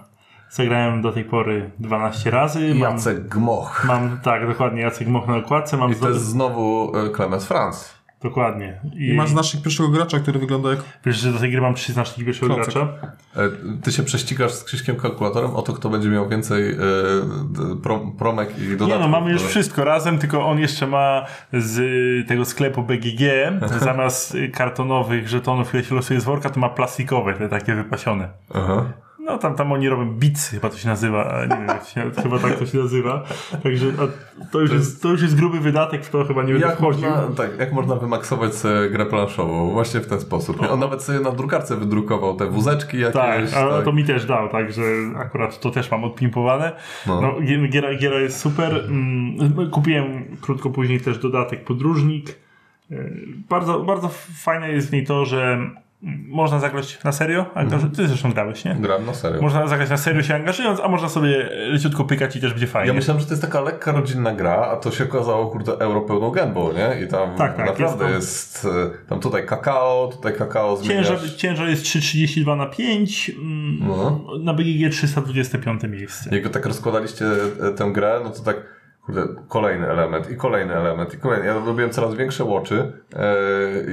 Speaker 2: Zagrałem do tej pory 12 razy. Mam,
Speaker 3: Jacek Gmoch.
Speaker 2: mam tak, dokładnie Jacek Moch na okładce. Mam
Speaker 3: I to jest znowu e, Clemens Franz.
Speaker 2: Dokładnie.
Speaker 1: I masz znacznik pierwszego gracza, który wygląda jak...
Speaker 2: Wiesz, że do tej gry mam trzy znaczniki pierwszego
Speaker 1: Klocek.
Speaker 2: gracza.
Speaker 3: E, Ty się prześcigasz z Krzyśkiem kalkulatorem o to, kto będzie miał więcej e, d- prom, promek i dodatków.
Speaker 2: Nie no, mamy już
Speaker 3: które-
Speaker 2: wszystko razem, tylko on jeszcze ma z y, tego sklepu BGG, zamiast y, kartonowych żetonów, które się losuje z worka, to ma plastikowe, te takie wypasione.
Speaker 3: Aha.
Speaker 2: No tam, tam oni robią bicy, chyba to się nazywa, a nie wiem, jak się, chyba tak to się nazywa. Także a to, już jest, to już jest gruby wydatek, w to chyba nie będę
Speaker 3: Jak
Speaker 2: wchodził.
Speaker 3: można, tak, jak można wymaksować sobie grę planszową? Właśnie w ten sposób. Nie? On nawet sobie na drukarce wydrukował te wózeczki jakieś.
Speaker 2: No. Tak,
Speaker 3: Tak,
Speaker 2: ale to mi też dał, także akurat to też mam odpimpowane.
Speaker 3: No.
Speaker 2: No. gi- giera, giera jest super. Mm, Kupiłem krótko później też dodatek podróżnik. Yy, Bardzo, bardzo fajne jest w niej to, że mm, można zagrać na serio. A Ty zresztą grałeś, nie?
Speaker 3: Gram na no serio.
Speaker 2: Można zagrać na serio się angażując, a można sobie leciutko pykać i też będzie fajnie.
Speaker 3: Ja myślałem, że to jest taka lekka rodzinna gra, a to się okazało, kurde, euro pełną gębą, nie? I tam
Speaker 2: Tak, tak,
Speaker 3: naprawdę
Speaker 2: jest
Speaker 3: jest, e, tam tutaj kakao, tutaj kakao zmieniasz.
Speaker 2: Ciężar, ciężar jest 3,32 na 5, mm,
Speaker 3: No.
Speaker 2: na BGG 325 miejsce.
Speaker 3: Jak tak rozkładaliście e, tę grę, no to tak kurde, kolejny element i kolejny element i kolejny. Ja robiłem coraz większe łoczy e,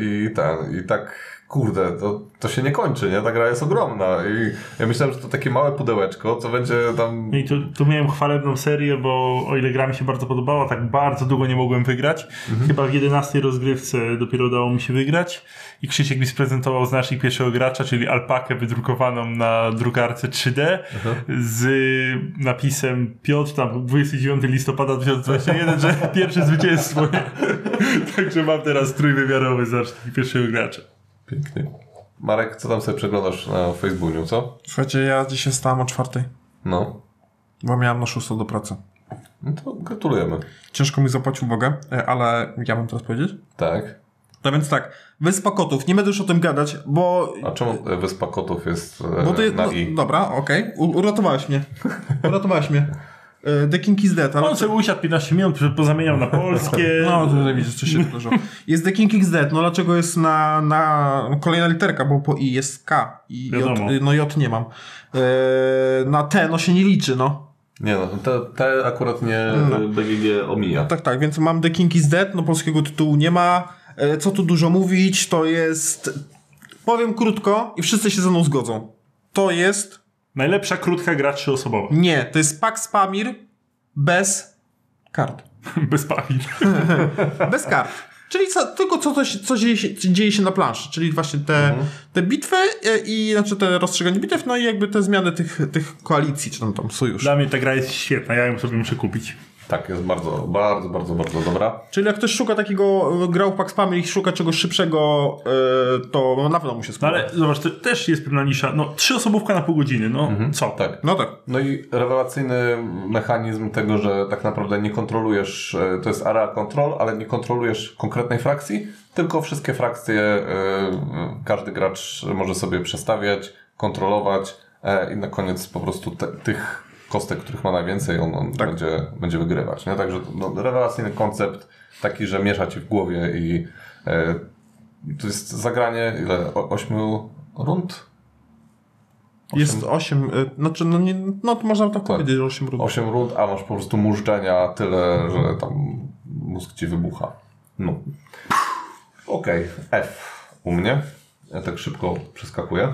Speaker 3: i ten, i tak kurde, to, to się nie kończy, nie? Ta gra jest ogromna i ja myślałem, że to takie małe pudełeczko, co będzie tam...
Speaker 2: No i tu, tu miałem chwalebną serię, bo o ile gra mi się bardzo podobała, tak bardzo długo nie mogłem wygrać. Chyba w 11 rozgrywce dopiero udało mi się wygrać. I Krzysiek mi sprezentował znacznik pierwszego gracza, czyli alpakę wydrukowaną na drukarce 3D z napisem Piotr, tam 29 listopada 2021, że pierwsze zwycięstwo. Także mam teraz trójwymiarowy znacznik pierwszego gracza.
Speaker 3: Pięknie. Marek, co tam sobie przeglądasz na Facebooku, co?
Speaker 1: Słuchajcie, ja dzisiaj stałem o czwartej,
Speaker 3: No.
Speaker 1: bo miałem na szóstą do pracy.
Speaker 3: No to gratulujemy.
Speaker 1: Ciężko mi zapłacił Boga, ale ja mam teraz powiedzieć?
Speaker 3: Tak.
Speaker 1: No więc tak, Wyspa Kotów, nie będę już o tym gadać, bo...
Speaker 3: A czemu e, Wyspa Kotów jest e,
Speaker 1: bo ty,
Speaker 3: na
Speaker 1: no,
Speaker 3: i?
Speaker 1: dobra, okej, U- uratowałeś mnie. Uratowałeś mnie. E, The King is Dead, ale...
Speaker 2: On sobie usiadł 15 minut, pozamieniał na polskie.
Speaker 1: No, tutaj widzisz, co się wydarzyło. Jest The King is Dead, no dlaczego jest na, na kolejna literka, bo po I jest K i J,
Speaker 2: Wiadomo.
Speaker 1: no J nie mam. Eee, na T no się nie liczy, no.
Speaker 3: Nie no, te, te akurat nie e, BGG omija.
Speaker 1: Tak, tak, więc mam The King is Dead, no polskiego tytułu nie ma. Eee, co tu dużo mówić, to jest... Powiem krótko i wszyscy się ze mną zgodzą. To jest...
Speaker 2: Najlepsza krótka gra trzyosobowa.
Speaker 1: Nie, to jest Pax Pamir bez kart.
Speaker 2: Bez papir.
Speaker 1: Bez kart. Czyli co, tylko co, to się, co dzieje, się, co dzieje się na planszy, czyli właśnie te,
Speaker 2: Mhm.
Speaker 1: te bitwy e, i znaczy te rozstrzyganie bitew, no i jakby te zmiany tych, tych koalicji, czy tam, tam sojusz.
Speaker 2: Dla mnie ta gra jest świetna, ja ją sobie muszę kupić.
Speaker 3: Tak, jest bardzo, bardzo, bardzo, bardzo dobra.
Speaker 1: Czyli jak ktoś szuka takiego, e, grał w Pax Family i szuka czegoś szybszego, e, to no, na pewno mu się
Speaker 2: No
Speaker 1: spodoba.
Speaker 2: ale zobacz, to też jest pewna nisza. No, trzyosobówka na pół godziny, no co?
Speaker 3: Tak.
Speaker 1: No tak.
Speaker 3: No i rewelacyjny mechanizm tego, że tak naprawdę nie kontrolujesz, e, to jest area control, ale nie kontrolujesz konkretnej frakcji, tylko wszystkie frakcje e, każdy gracz może sobie przestawiać, kontrolować e, i na koniec po prostu te, tych kostek, których ma najwięcej, on, on
Speaker 1: Tak.
Speaker 3: będzie, będzie wygrywać. Nie? Także no, rewelacyjny koncept, taki, że miesza ci w głowie i e, to jest zagranie, ile? O, ośmiu rund?
Speaker 1: Jest 8, znaczy no, nie, no to można tak,
Speaker 3: Tak.
Speaker 1: powiedzieć, że 8 rund.
Speaker 3: Osiem rund, a masz po prostu mużdżenia tyle, że tam mózg ci wybucha. No. Okej, F u mnie. Ja tak szybko przeskakuję.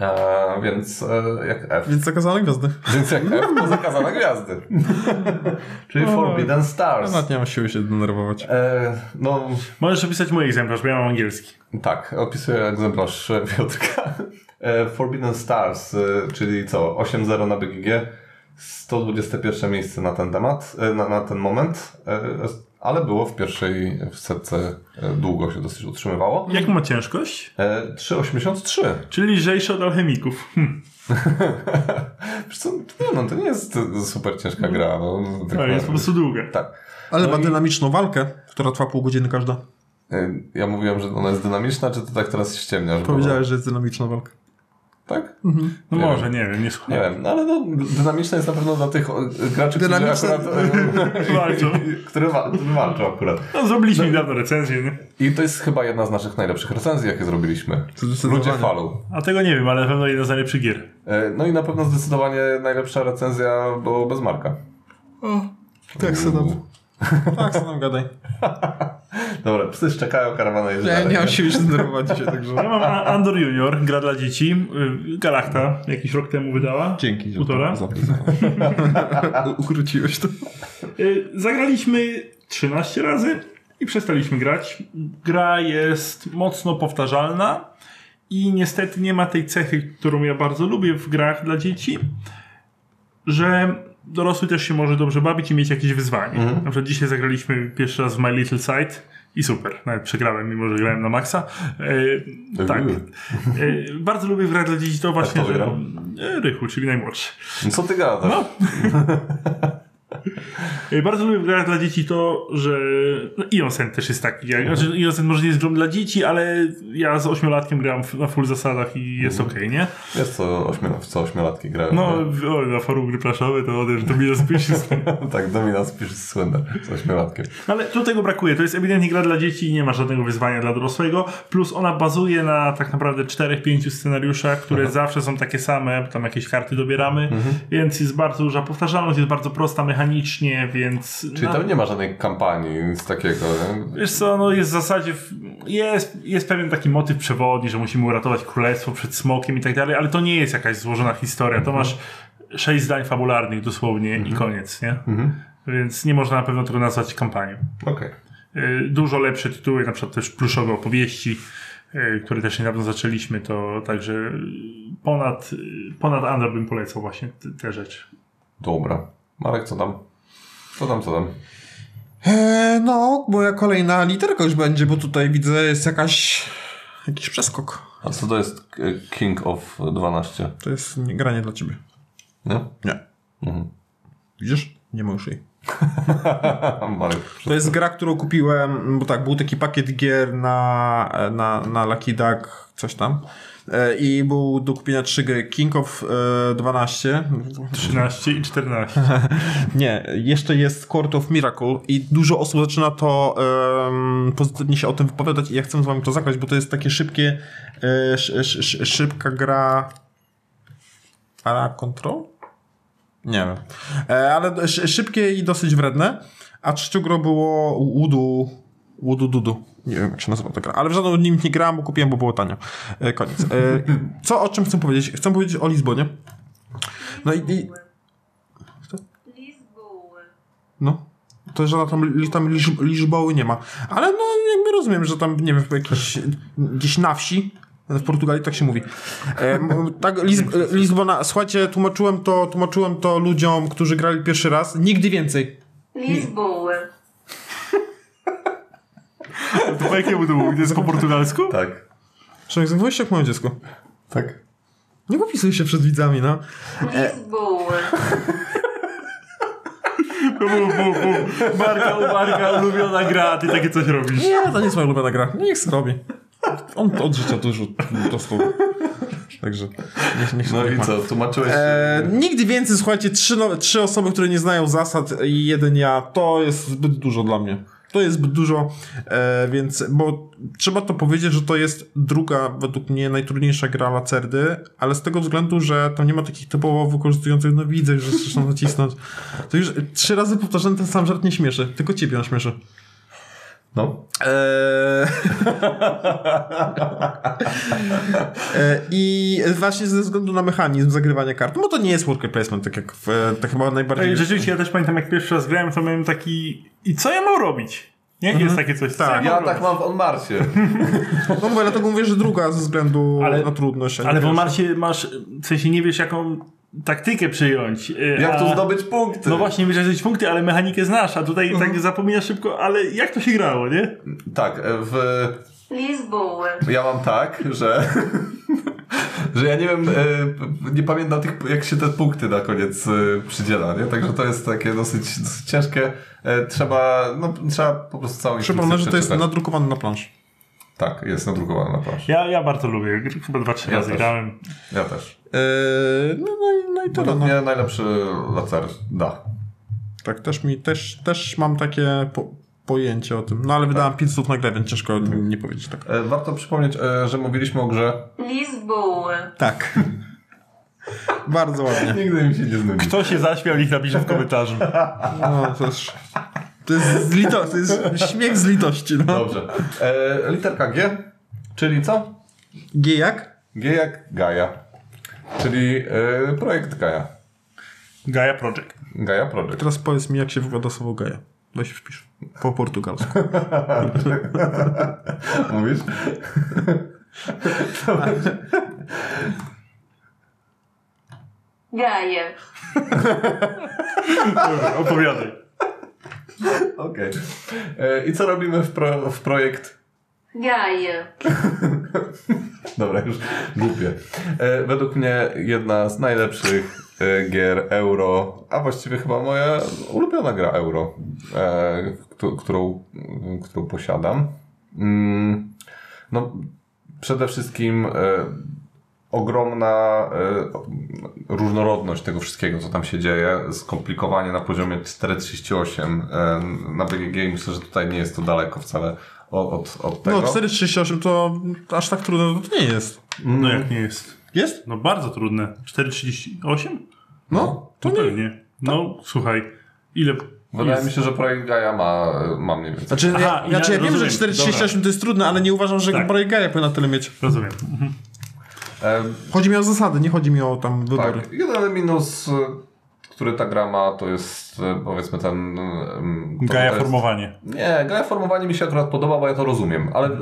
Speaker 3: E, więc e, jak F.
Speaker 1: Więc zakazane gwiazdy.
Speaker 3: Więc jak F to zakazane gwiazdy. Czyli Forbidden
Speaker 1: Ja
Speaker 3: Stars.
Speaker 1: nawet nie mam siły się denerwować.
Speaker 3: E, no
Speaker 2: Możesz opisać mój egzemplarz, bo ja mam angielski.
Speaker 3: tak, opisuję egzemplarz e, Piotrka. E, Forbidden Stars, e, czyli co, 8-0 na BGG, 121 miejsce na ten temat, e, na, na ten moment, e, ale było w pierwszej w setce, e, długo się dosyć utrzymywało.
Speaker 2: Jaką ma ciężkość?
Speaker 3: E, 3,83.
Speaker 2: Czyli lżejszy od alchemików. Hm.
Speaker 3: Wiesz co, nie, no to nie jest e, super ciężka gra. No, tak
Speaker 2: To jest po
Speaker 3: naprawdę.
Speaker 2: prostu długa.
Speaker 3: tak.
Speaker 1: Ale
Speaker 3: No
Speaker 1: ma
Speaker 3: i-
Speaker 1: dynamiczną walkę, która trwa pół godziny każda.
Speaker 3: E, Ja mówiłem, że ona jest dynamiczna, czy to tak teraz ściemniasz? Bo-
Speaker 1: Powiedziałeś, że jest dynamiczna walka.
Speaker 3: Tak?
Speaker 2: No
Speaker 3: Nie
Speaker 2: może, nie wiem, nie
Speaker 3: Nie
Speaker 2: słucham.
Speaker 3: wiem, no ale no, dynamiczna jest na pewno dla tych o, graczy, którzy
Speaker 1: Dynamiczna-
Speaker 3: akurat e,
Speaker 2: Walczą.
Speaker 3: które wa- walczą akurat.
Speaker 2: No zrobiliśmy niedawno recenzję, nie?
Speaker 3: I to jest chyba jedna z naszych najlepszych recenzji, jakie zrobiliśmy.
Speaker 1: Zdecydowanie.
Speaker 3: Ludzie falą.
Speaker 2: A tego nie wiem, ale na pewno jedna z najlepszych gier.
Speaker 3: E, No i na pewno zdecydowanie najlepsza recenzja do Bezmarka.
Speaker 1: Tak se
Speaker 3: Uuu.
Speaker 1: tam, tak se tam gadaj.
Speaker 3: Dobra, psy szczekają, karawana jest dalej.
Speaker 1: siły się zdenerwować dzisiaj,
Speaker 2: Ja
Speaker 1: także...
Speaker 2: mam A- Andor Junior, gra dla dzieci. y, Galakta jakiś rok temu wydała.
Speaker 1: Dzięki. że
Speaker 2: Półtora?
Speaker 1: to zaprezentował. Ukróciłeś to.
Speaker 2: Y, Zagraliśmy 13 razy i przestaliśmy grać. Gra jest mocno powtarzalna i niestety nie ma tej cechy, którą ja bardzo lubię w grach dla dzieci, że dorosły też się może dobrze bawić i mieć jakieś wyzwanie. Na przykład dzisiaj zagraliśmy pierwszy raz w My Little Sight i super, nawet przegrałem, mimo że grałem na maksa. Y, tak.
Speaker 3: Uuu.
Speaker 2: Y, bardzo lubię w grach dla dzieci to właśnie,
Speaker 3: kto
Speaker 2: że...
Speaker 3: wygrał?
Speaker 2: Y, Rychu, czyli najmłodszy.
Speaker 3: Co ty gadasz?
Speaker 2: No. Y, Bardzo lubię w grach dla dzieci to, że no, Innocent też jest taki. Ja, znaczy, Innocent może nie jest grą dla dzieci, ale ja z ośmiolatkiem grałem w- na full zasadach i jest okej, nie?
Speaker 3: Wiesz co, ośmiu, w co ośmiolatki grają?
Speaker 2: No, w- o, na forum gry plaszowe to ode, to mi rozpisz.
Speaker 3: nie? tak, Dominant pisze słynne z ośmiolatkiem.
Speaker 2: Ale tu tego brakuje. To jest ewidentnie gra dla dzieci i nie ma żadnego wyzwania dla dorosłego. Plus ona bazuje na tak naprawdę 4-5 scenariuszach, które zawsze są takie same. Tam jakieś karty dobieramy, więc jest bardzo duża powtarzalność, jest bardzo prosta mechanicznie, więc...
Speaker 3: Czyli
Speaker 2: na-
Speaker 3: tam nie ma żadnej kampanii, nic takiego. nie?
Speaker 2: Wiesz co, no jest w zasadzie, w- jest, jest pewien taki motyw przewodni, że musimy uratować królestwo przed smokiem i tak dalej, ale to nie jest jakaś złożona historia. To masz sześć zdań fabularnych dosłownie i koniec, nie? Więc nie można na pewno tego nazwać kampanią.
Speaker 3: Okej.
Speaker 2: Y, Dużo lepsze tytuły, na przykład też pluszowe opowieści, y, które też niedawno zaczęliśmy, to także y, ponad, y, ponad Under bym polecał właśnie te, te rzeczy.
Speaker 3: Dobra. Marek, co tam? Co tam, co tam?
Speaker 1: E, no, moja kolejna literka już będzie, bo tutaj widzę jest jakaś... Jakiś przeskok.
Speaker 3: A co to jest K- King of 12?
Speaker 1: To jest nie- granie dla ciebie.
Speaker 3: Nie?
Speaker 1: Nie.
Speaker 3: Mhm.
Speaker 1: Widzisz? Nie ma już jej.
Speaker 3: Marek.
Speaker 1: To jest gra, którą kupiłem, bo tak, był taki pakiet gier na, na, na Lucky Duck, coś tam. E, I był do kupienia trzy gry. King of e, 12.
Speaker 2: 13 i 14.
Speaker 1: Nie, jeszcze jest Court of Miracle i dużo osób zaczyna to em, pozytywnie się o tym wypowiadać i ja chcę z wami to zagrać, bo to jest takie szybkie, e, sz, sz, sz, szybka gra... Ara Control? Nie wiem. E, ale sz- szybkie i dosyć wredne. A trzecią grą było Udu. Udu Dudu. Nie wiem, jak się nazywa ta gra. Ale w żadną nim nie grałem, bo kupiłem, bo było tanio. E, koniec. E, co o czym chcę powiedzieć? Chcę powiedzieć o Lizbonie. No i. i
Speaker 4: Lisboa.
Speaker 1: no. To, że tam, li- tam liczb, liczboły nie ma. Ale no, jakby rozumiem, że tam, nie wiem, jakiś, gdzieś na wsi, w Portugalii tak się mówi. E, m- tak, Lizb, e, Lizbona, słuchajcie, tłumaczyłem to, tłumaczyłem to ludziom, którzy grali pierwszy raz. Nigdy więcej.
Speaker 4: Lisboa.
Speaker 2: To po jakiemu to było? To jest po portugalsku?
Speaker 3: Tak.
Speaker 1: Szanowni, zachowujesz się jak moje dziecko.
Speaker 3: Tak.
Speaker 1: Nie popisuj się przed widzami, no.
Speaker 4: Lisboa.
Speaker 2: Bu, bu, bu. Marka, marka, ulubiona gra, a ty takie coś robisz.
Speaker 1: Nie, to nie jest moja ulubiona gra. Niech zrobi. On od życia dużo dostał. Także niech, niech
Speaker 3: No
Speaker 1: niech
Speaker 3: i
Speaker 1: ma.
Speaker 3: co, tłumaczyłeś...
Speaker 1: E, nigdy więcej, słuchajcie, trzy, no, trzy osoby, które nie znają zasad i jeden ja, to jest zbyt dużo dla mnie. To jest zbyt dużo, e, więc, bo trzeba to powiedzieć, że to jest druga, według mnie, najtrudniejsza gra Lacerdy, ale z tego względu, że tam nie ma takich typowo wykorzystujących, no widzę, że zresztą nacisnąć. To już trzy razy powtarzam ten sam żart nie śmieszy, tylko ciebie on śmieszy.
Speaker 3: No.
Speaker 1: Eee... E, I właśnie ze względu na mechanizm zagrywania kart, no bo to nie jest worker placement, tak jak w, e, tak chyba najbardziej...
Speaker 2: Ej, Rzeczywiście, ja też pamiętam, jak pierwszy raz grałem, to miałem taki... I co ja mam robić? Nie? Jest takie coś. co
Speaker 1: Tak.
Speaker 2: mam
Speaker 3: Ja
Speaker 2: robić?
Speaker 3: tak mam w Onmarsie.
Speaker 1: No bo dlatego mówię, że druga ze względu
Speaker 2: Ale-
Speaker 1: na trudność. a nie
Speaker 2: Ale w
Speaker 1: pierwsza.
Speaker 2: Omarcie masz, w sensie nie wiesz jaką taktykę przyjąć. y,
Speaker 3: Jak
Speaker 1: E,
Speaker 3: tu
Speaker 2: a-
Speaker 3: zdobyć punkty?
Speaker 2: No właśnie, wiesz, jakieś punkty, ale mechanikę znasz, a tutaj tak zapominasz szybko, ale jak to się grało, nie?
Speaker 3: Tak, e, w...
Speaker 4: Lisboa,
Speaker 3: Ja mam tak, że... Że ja nie wiem, e, nie pamiętam tych, jak się te punkty na koniec e, przydziela, nie? Także to jest takie dosyć, dosyć ciężkie. E, Trzeba, no, trzeba po prostu całą
Speaker 1: Przypomnę,
Speaker 3: instrukcję
Speaker 1: że to jest
Speaker 3: przeczytać.
Speaker 1: nadrukowane na plansz.
Speaker 3: Tak, jest nadrukowana na planszy.
Speaker 2: Ja, ja bardzo lubię, chyba dwa, trzy
Speaker 3: Ja
Speaker 2: razy
Speaker 3: też.
Speaker 2: grałem.
Speaker 3: Ja też.
Speaker 1: Eee, no, no, i- no i
Speaker 3: To
Speaker 1: tyle.
Speaker 3: dla
Speaker 1: No.
Speaker 3: mnie najlepszy latar, da.
Speaker 1: Tak, też mi, też, też mam takie po, pojęcie o tym. No ale wydałem 500 na grę, więc ciężko nie powiedzieć tak.
Speaker 3: E, Warto przypomnieć, e, że mówiliśmy o grze.
Speaker 4: Lisboa,
Speaker 1: Tak. Bardzo ładnie.
Speaker 3: Nigdy mi się nie znudzi.
Speaker 2: Kto się zaśmiał, niech napisze w komentarzu.
Speaker 1: No, to jest, to jest, z lito, to jest śmiech z litości. No.
Speaker 3: Dobrze. E, literka G, czyli co?
Speaker 1: G jak?
Speaker 3: G jak Gaia. Czyli e, projekt Gaia.
Speaker 2: Gaia Project.
Speaker 3: Gaia Project.
Speaker 1: Teraz powiedz mi, jak się wygląda słowo geja. Weź wpisz. Po portugalsku.
Speaker 3: Mówisz?
Speaker 4: Gaia,
Speaker 2: Dobra, opowiadaj.
Speaker 3: Okej. E, I co robimy w, pro, w projekt?
Speaker 4: Gaia,
Speaker 3: Dobra, już głupie. E, według mnie jedna z najlepszych e, gier euro, a właściwie chyba moja ulubiona gra euro, e, któ- którą, którą posiadam. Mm, no, przede wszystkim e, ogromna e, o- różnorodność tego wszystkiego, co tam się dzieje, skomplikowanie na poziomie 4.38 e, na BGG. Myślę, że tutaj nie jest to daleko wcale o- od, od tego.
Speaker 1: No, 4,38 to aż tak trudno to nie jest.
Speaker 2: No jak nie jest?
Speaker 1: Jest?
Speaker 2: No bardzo trudne. 4,38?
Speaker 1: No, to
Speaker 2: No
Speaker 1: nie. tak.
Speaker 2: pewnie. No słuchaj, ile...
Speaker 3: No, Wydaje
Speaker 2: jest?
Speaker 3: mi się, że projekt Gaia ma, ma mniej więcej.
Speaker 1: Znaczy,
Speaker 2: Aha,
Speaker 1: ja, znaczy, ja,
Speaker 2: ja
Speaker 1: wiem, że
Speaker 2: rozumiem.
Speaker 1: 4,38 to jest trudne, ale nie uważam, że
Speaker 2: Tak.
Speaker 1: projekt geja powinien tyle mieć.
Speaker 2: Rozumiem. Mhm.
Speaker 3: E,
Speaker 1: Chodzi mi o zasady, nie chodzi mi o tam wybory.
Speaker 3: tak. Jeden minus, e, który ta gra ma, to jest e, powiedzmy ten. em, to-
Speaker 2: Gaia
Speaker 3: to jest-
Speaker 2: formowanie.
Speaker 3: Nie, Gaia formowanie mi się akurat podoba, bo ja to rozumiem, ale e,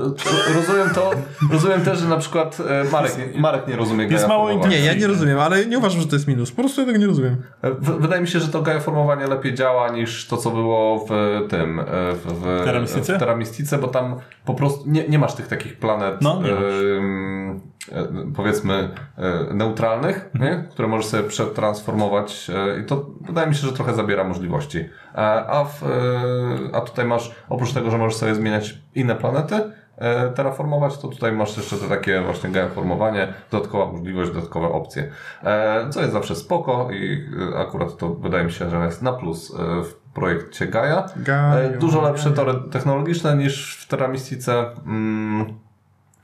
Speaker 3: rozumiem to, rozumiem też, że na przykład e, Marek, nie- Marek nie rozumie Gaia
Speaker 2: Jest mało
Speaker 3: formowania.
Speaker 1: Nie, ja nie rozumiem, ale nie uważam, że to jest minus. Po prostu ja tego nie rozumiem.
Speaker 3: E, w- Wydaje mi się, że to Gaia formowanie lepiej działa niż to, co było w tym. e, W, w,
Speaker 2: Terra Mystice?
Speaker 3: w Terra Mystice, bo tam po prostu nie, nie masz tych takich planet.
Speaker 2: No, nie masz.
Speaker 3: em, e, powiedzmy e, neutralnych,
Speaker 2: Mhm.
Speaker 3: nie? które możesz sobie przetransformować e, i to wydaje mi się, że trochę zabiera możliwości. E, A, w, e, a tutaj masz, oprócz tego, że możesz sobie zmieniać inne planety, e, terraformować, to tutaj masz jeszcze te takie właśnie geoformowanie, dodatkowa możliwość, dodatkowe opcje, E, co jest zawsze spoko i e, akurat to wydaje mi się, że jest na plus e, w projekcie Gaia.
Speaker 1: Gaja,
Speaker 3: E, Dużo
Speaker 1: Gaja.
Speaker 3: lepsze tory technologiczne niż w Teramistice. Mm,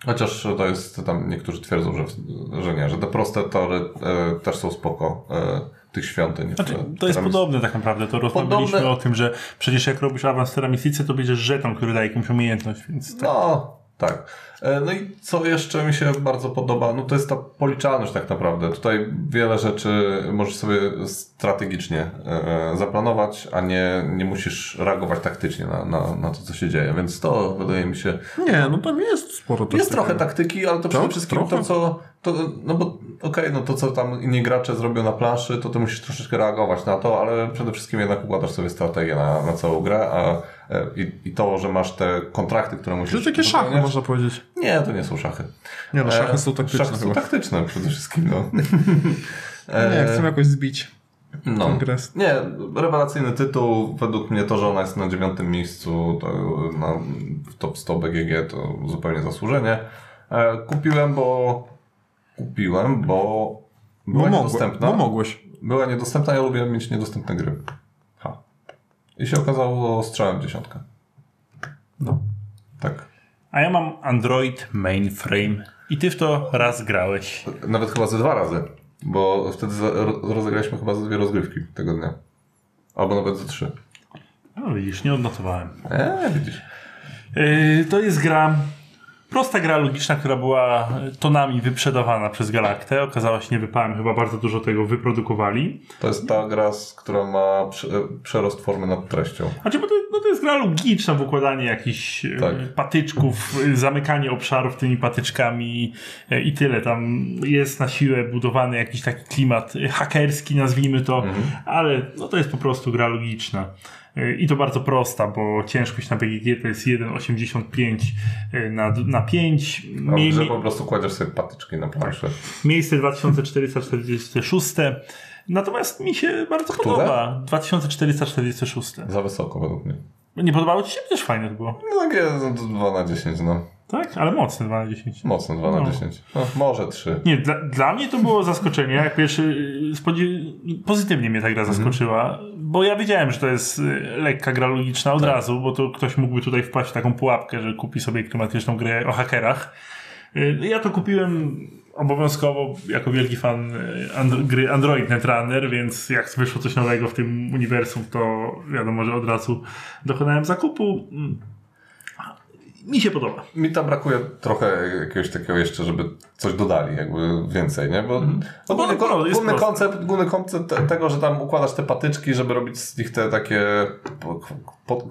Speaker 3: Chociaż to jest, tam niektórzy twierdzą, że, że nie, że te proste tory e, też są spoko e, tych świątyń.
Speaker 2: Znaczy,
Speaker 3: które-
Speaker 2: to jest
Speaker 3: które-
Speaker 2: podobne tak naprawdę. To rozmawialiśmy
Speaker 3: Podobne.
Speaker 2: o tym, że przecież jak robisz awans teramisticy, to będziesz żeton, który daje jakąś umiejętność, więc tak.
Speaker 3: No, tak. E, No i co jeszcze mi się bardzo podoba, no to jest ta policzalność tak naprawdę. Tutaj wiele rzeczy możesz sobie strategicznie e, zaplanować, a nie, nie musisz reagować taktycznie na, na, na to, co się dzieje. Więc to wydaje mi się
Speaker 1: Nie, no tam jest sporo
Speaker 3: Jest
Speaker 1: taktyki.
Speaker 3: trochę tak- taktyki, ale to przede wszystkim
Speaker 1: Tak, Trochę.
Speaker 3: to, co. To, no bo okej, no to co tam inni gracze zrobią na planszy, to ty musisz troszeczkę reagować na to, ale przede wszystkim jednak układasz sobie strategię na, na całą grę, a e, i, i to, że masz te kontrakty, które musisz.
Speaker 1: To takie szachy,
Speaker 3: wypełniać-
Speaker 1: można powiedzieć.
Speaker 3: No Nie, to nie są szachy.
Speaker 1: Nie no, szachy są
Speaker 3: E,
Speaker 1: taktyczne
Speaker 3: Szachy są
Speaker 1: chyba.
Speaker 3: taktyczne przede wszystkim, no. E,
Speaker 1: Nie, chcę jakoś zbić.
Speaker 3: No.
Speaker 1: Kongres.
Speaker 3: Nie, rewelacyjny tytuł. Według mnie to, że ona jest na dziewiątym miejscu to na, w top 100 BGG to zupełnie zasłużenie. E, Kupiłem, bo kupiłem, bo była
Speaker 1: Bo, No mogłe,
Speaker 3: niedostępna.
Speaker 1: bo mogłeś.
Speaker 3: była niedostępna, ja lubię mieć niedostępne gry. Ha. I się okazało strzałem dziesiątkę.
Speaker 1: No.
Speaker 3: Tak.
Speaker 2: A ja mam Android Mainframe. I ty w to raz grałeś.
Speaker 3: Nawet chyba ze dwa razy, bo wtedy za- ro- rozegraliśmy chyba ze dwie rozgrywki tego dnia. Albo nawet ze trzy.
Speaker 2: No widzisz, nie odnotowałem.
Speaker 3: Eee, widzisz.
Speaker 2: Yy, to jest gra. Prosta gra logiczna, która była tonami wyprzedawana przez Galaktę. Okazała się niewypałem, chyba bardzo dużo tego wyprodukowali.
Speaker 3: To jest ta gra, z- która ma prze, przerost formy nad treścią.
Speaker 2: Znaczy, bo to, no to jest gra logiczna w układanie jakichś e,
Speaker 3: Tak.
Speaker 2: patyczków, e, zamykanie obszarów tymi patyczkami e, i tyle. Tam jest na siłę budowany jakiś taki klimat e, hakerski, nazwijmy to,
Speaker 3: Mhm.
Speaker 2: ale no to jest po prostu gra logiczna. E, I to bardzo prosta, bo ciężkość na BGG to jest 1,85 e, na, na 5.
Speaker 3: A
Speaker 2: Mie-
Speaker 3: że po prostu kładziesz sobie patyczki na planszę.
Speaker 2: Miejsce 2446. Natomiast mi się bardzo
Speaker 3: Które?
Speaker 2: podoba. 2446.
Speaker 3: Za wysoko według mnie.
Speaker 2: Nie podobało ci się? Też fajne to było.
Speaker 3: No takie 2 na 10, no.
Speaker 2: Tak, ale mocne 2 na 10.
Speaker 3: Mocno 2
Speaker 2: No.
Speaker 3: na 10. No, może 3.
Speaker 2: Nie, dla, dla mnie to było zaskoczenie. Jak pierwszy y, spodzi- pozytywnie mnie ta gra zaskoczyła, bo ja wiedziałem, że to jest y, lekka gra logiczna
Speaker 3: Tak.
Speaker 2: od razu, bo to ktoś mógłby tutaj wpaść w taką pułapkę, że kupi sobie klimatyczną grę o hakerach. Y, Ja to kupiłem obowiązkowo jako wielki fan y, andro- gry Android Netrunner, więc jak wyszło coś nowego w tym uniwersum, to wiadomo, że od razu dokonałem zakupu. Mm. Mi się podoba.
Speaker 3: Mi tam brakuje trochę jakiegoś takiego jeszcze, żeby coś dodali, jakby więcej, nie? Bo ogólny,
Speaker 2: Bo- bo
Speaker 3: ko-
Speaker 2: Mhm. jest
Speaker 3: główny,
Speaker 2: proste.
Speaker 3: koncept, główny koncept te- tego, że tam układasz te patyczki, żeby robić z nich te takie po- po-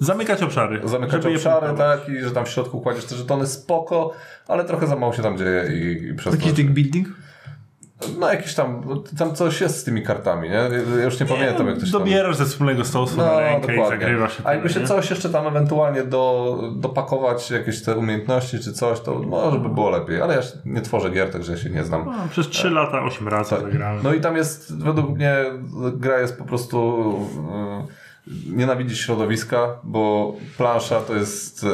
Speaker 2: Zamykać obszary.
Speaker 3: zamykać
Speaker 2: żeby je
Speaker 3: obszary,
Speaker 2: punktować.
Speaker 3: tak, i że tam w środku kładziesz te żetony, spoko, ale trochę za mało się tam dzieje i, i przez
Speaker 1: Jakiś
Speaker 3: to-
Speaker 1: deck building?
Speaker 3: No jakiś tam, tam coś jest z tymi kartami, nie? Ja już nie, pamiętam jak to się tam...
Speaker 2: Dobierasz ze wspólnego stołu
Speaker 3: No,
Speaker 2: na rękę
Speaker 3: dokładnie.
Speaker 2: i zagrywasz się.
Speaker 3: A jakby się coś jeszcze tam ewentualnie do, dopakować, jakieś te umiejętności czy coś, to może by było lepiej, ale ja się nie tworzę gier, także ja się nie znam.
Speaker 2: No, przez 3 lata 8 razy
Speaker 3: Tak.
Speaker 2: zagrałem.
Speaker 3: No i tam jest, według mnie gra jest po prostu e, nienawidzić środowiska, bo plansza to jest e,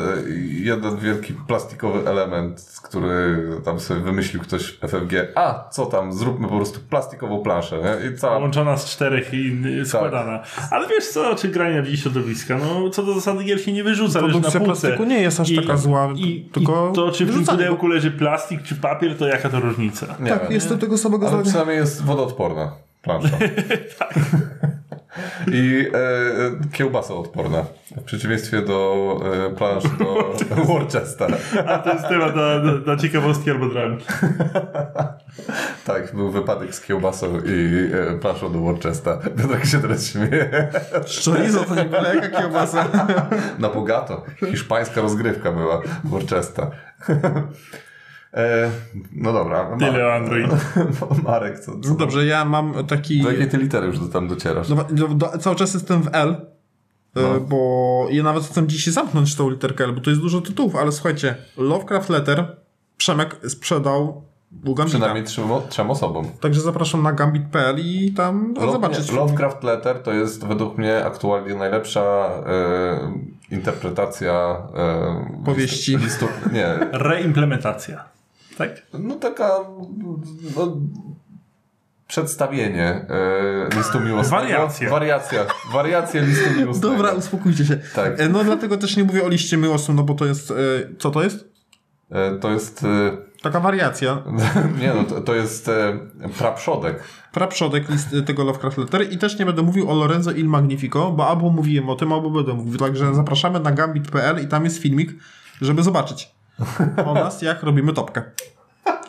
Speaker 3: jeden wielki plastikowy element, który tam sobie wymyślił ktoś FFG. A, co tam, zróbmy po prostu plastikową planszę, nie? I cała
Speaker 2: Połączona z czterech i y, składana.
Speaker 3: Tak.
Speaker 2: Ale wiesz co, czy granie w środowiska? No, co do zasady gier się nie wyrzuca, leży na
Speaker 1: Produkcja
Speaker 2: półce.
Speaker 1: plastiku nie jest aż taka zła,
Speaker 2: I,
Speaker 1: tylko
Speaker 2: i to, czy w tym
Speaker 1: wyrzucanie,
Speaker 2: pudełku leży plastik, czy papier, to jaka to różnica?
Speaker 3: nie
Speaker 1: Tak,
Speaker 3: wiem.
Speaker 1: jestem tego samego
Speaker 3: Ale
Speaker 1: zdania.
Speaker 3: przynajmniej jest wodoodporna plansza. I e, e, kiełbasa odporna. W przeciwieństwie do e, plansz do Worcestera.
Speaker 2: A to jest temat na, na, na ciekawostki albo dramki.
Speaker 3: Tak, był wypadek z kiełbasą i e, planszą do Worcestera. Piotrek się teraz śmieje.
Speaker 1: Szczelizo to nie byle jaka kiełbasa.
Speaker 3: Na bogato. Hiszpańska rozgrywka była Worcester. E, no dobra.
Speaker 2: Tyle o Android.
Speaker 3: Marek, co,
Speaker 1: No
Speaker 3: co,
Speaker 1: dobrze, ja mam taki...
Speaker 3: do jakiej ty litery już do, tam docierasz?
Speaker 1: No, do, do, cały czas jestem w L, y,
Speaker 3: No.
Speaker 1: bo ja nawet chcę dzisiaj zamknąć tą literkę L, bo to jest dużo tytułów, ale słuchajcie, Lovecraft Letter Przemek sprzedał u Gambita.
Speaker 3: Przynajmniej trzem, trzem osobom.
Speaker 1: Także zapraszam na gambit.pl i tam no,
Speaker 3: Lo-
Speaker 1: zobaczyć.
Speaker 3: nie, Lovecraft Letter to jest według mnie aktualnie najlepsza e, interpretacja e,
Speaker 1: Powieści.
Speaker 3: Listu, listu, nie,
Speaker 2: Reimplementacja. Tak?
Speaker 3: no taka no, przedstawienie e, listu miłosnego.
Speaker 2: Wariacja.
Speaker 3: Wariacja. Wariacja listu miłosnego.
Speaker 1: Dobra, uspokójcie się.
Speaker 3: Tak.
Speaker 1: E, No dlatego też nie mówię o liście miłosnym, no bo to jest... e, Co to jest?
Speaker 3: E, to jest e,
Speaker 1: Taka wariacja.
Speaker 3: nie no, to, to jest e, praprzodek.
Speaker 1: Praprzodek list e, tego Lovecraft Letter i też nie będę mówił o Lorenzo il Magnifico, bo albo mówiłem o tym, albo będę mówił. Także zapraszamy na gambit.pl i tam jest filmik, żeby zobaczyć o nas, jak robimy topkę.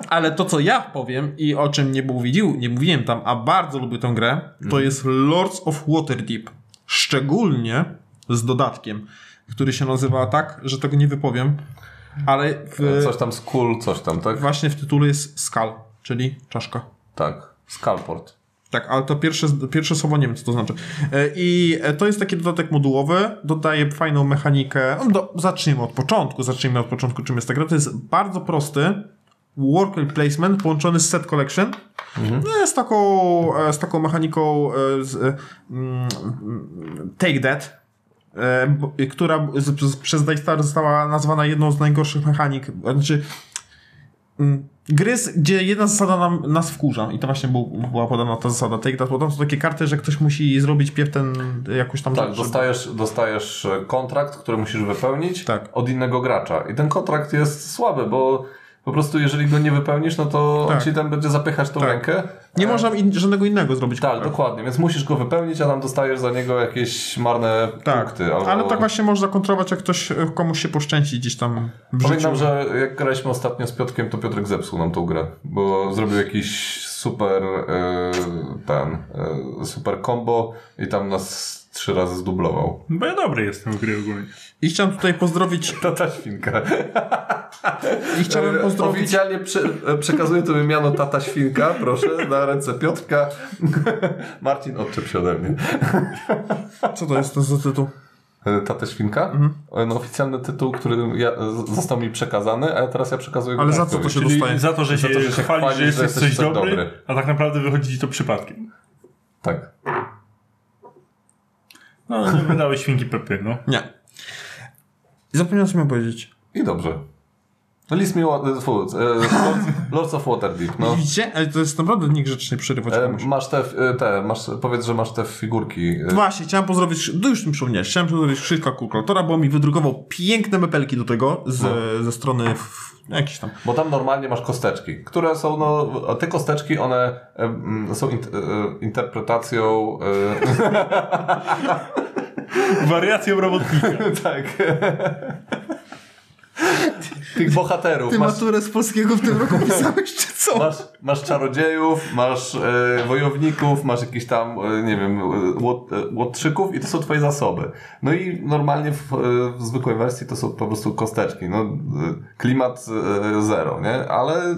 Speaker 1: Ale to, co ja powiem i o czym nie mówił, nie mówiłem tam, a bardzo lubię tę grę, to jest Lords of Waterdeep. Szczególnie z dodatkiem, który się nazywa tak, że tego nie wypowiem, ale w,
Speaker 3: Coś tam z kul, coś tam, tak?
Speaker 1: właśnie w tytule jest skal, czyli czaszka.
Speaker 3: Tak. Skalport.
Speaker 1: Tak, ale to pierwsze, pierwsze słowo nie wiem, co to znaczy. E, I e, to jest taki dodatek modułowy, dodaje fajną mechanikę. No, Do, zacznijmy od początku, zacznijmy od początku, czym jest ta gra. To jest bardzo prosty worker placement połączony z set collection. No, Z, taką, e, z taką mechaniką e, z, e, mm, mm, Take That, e, bo- która z, z, przez Daystar została nazwana jedną z najgorszych mechanik. Znaczy, mm, gry, z- gdzie jedna zasada nam, nas wkurza i to właśnie był, była podana ta zasada Take That, bo tam są takie karty, że ktoś musi zrobić pierw ten y, jakąś tam
Speaker 3: Tak,
Speaker 1: rzecz,
Speaker 3: dostajesz, dostajesz e, kontrakt, który musisz wypełnić
Speaker 1: Tak.
Speaker 3: od innego gracza. I ten kontrakt jest słaby, bo po prostu jeżeli go nie wypełnisz, no to
Speaker 1: Tak.
Speaker 3: on ci tam będzie zapychać tą
Speaker 1: Tak.
Speaker 3: rękę.
Speaker 1: Nie
Speaker 3: E,
Speaker 1: można in, żadnego innego zrobić.
Speaker 3: Tak,
Speaker 1: kurwa.
Speaker 3: dokładnie, więc musisz go wypełnić, a tam dostajesz za niego jakieś marne
Speaker 1: Tak,
Speaker 3: punkty. Albo...
Speaker 1: ale tak właśnie można kontrolować, jak ktoś e, komuś się poszczęci gdzieś tam w życiu.
Speaker 3: Pamiętam, że jak graliśmy ostatnio z Piotrkiem, to Piotrek zepsuł nam tą grę, bo zrobił jakiś super e, ten, e, super combo i tam nas trzy razy zdublował.
Speaker 2: Bo ja dobry jestem w gry ogólnie.
Speaker 1: I chciałem tutaj pozdrowić,
Speaker 3: To ta świnka.
Speaker 1: i chciałem
Speaker 3: E,
Speaker 1: pozdrowić
Speaker 3: Oficjalnie prze, e, przekazuję to miano tata świnka, proszę, na ręce Piotrka. Marcin, odczep się ode mnie.
Speaker 1: Co to jest to za tytuł?
Speaker 3: E, Tata świnka?
Speaker 1: Mhm.
Speaker 3: E, No, oficjalny tytuł, który ja, z- został mi przekazany, a teraz ja przekazuję go
Speaker 1: Ale za
Speaker 3: Bartkowi.
Speaker 1: co to się
Speaker 3: Czyli-
Speaker 1: dostaje?
Speaker 2: Za to, że się,
Speaker 3: to, że się
Speaker 2: chwali,
Speaker 3: chwalisz,
Speaker 2: że jesteś coś
Speaker 3: tak
Speaker 2: dobry,
Speaker 3: dobry.
Speaker 2: a tak naprawdę wychodzi ci to przypadkiem.
Speaker 3: Tak.
Speaker 2: No, nie wydałeś świnki Pepy, no.
Speaker 1: Nie. Zapomniałem sobie powiedzieć.
Speaker 3: I dobrze. No, List mi... ła- e, fu, e, Lords, Lords of Waterdeep, no.
Speaker 1: Widzicie? Ale to jest naprawdę nikt grzecznie przerywać
Speaker 3: E,
Speaker 1: komuś.
Speaker 3: Masz te, f- e, te masz, powiedz, że masz te figurki. e,
Speaker 1: Właśnie, chciałem pozdrowić, no już mi przypomniałeś, chciałem pozdrowić Krzyśka Kulklatora, bo mi wydrukował piękne mepelki do tego z,
Speaker 3: No.
Speaker 1: ze strony w, jakiś tam.
Speaker 3: Bo tam normalnie masz kosteczki, które są, no, a te kosteczki, one em, są int- e, e, interpretacją,
Speaker 2: Wariacją robotnika.
Speaker 3: e, tak, tych bohaterów.
Speaker 1: Ty
Speaker 3: Masz,
Speaker 1: maturę z polskiego w tym roku pisałeś, czy co?
Speaker 3: masz, masz czarodziejów, masz e, wojowników, masz jakichś tam, e, nie wiem, e, łot, e, łotrzyków i to są twoje zasoby. No i normalnie w, e, w zwykłej wersji to są po prostu kosteczki, no, e, klimat e, zero, nie? Ale e,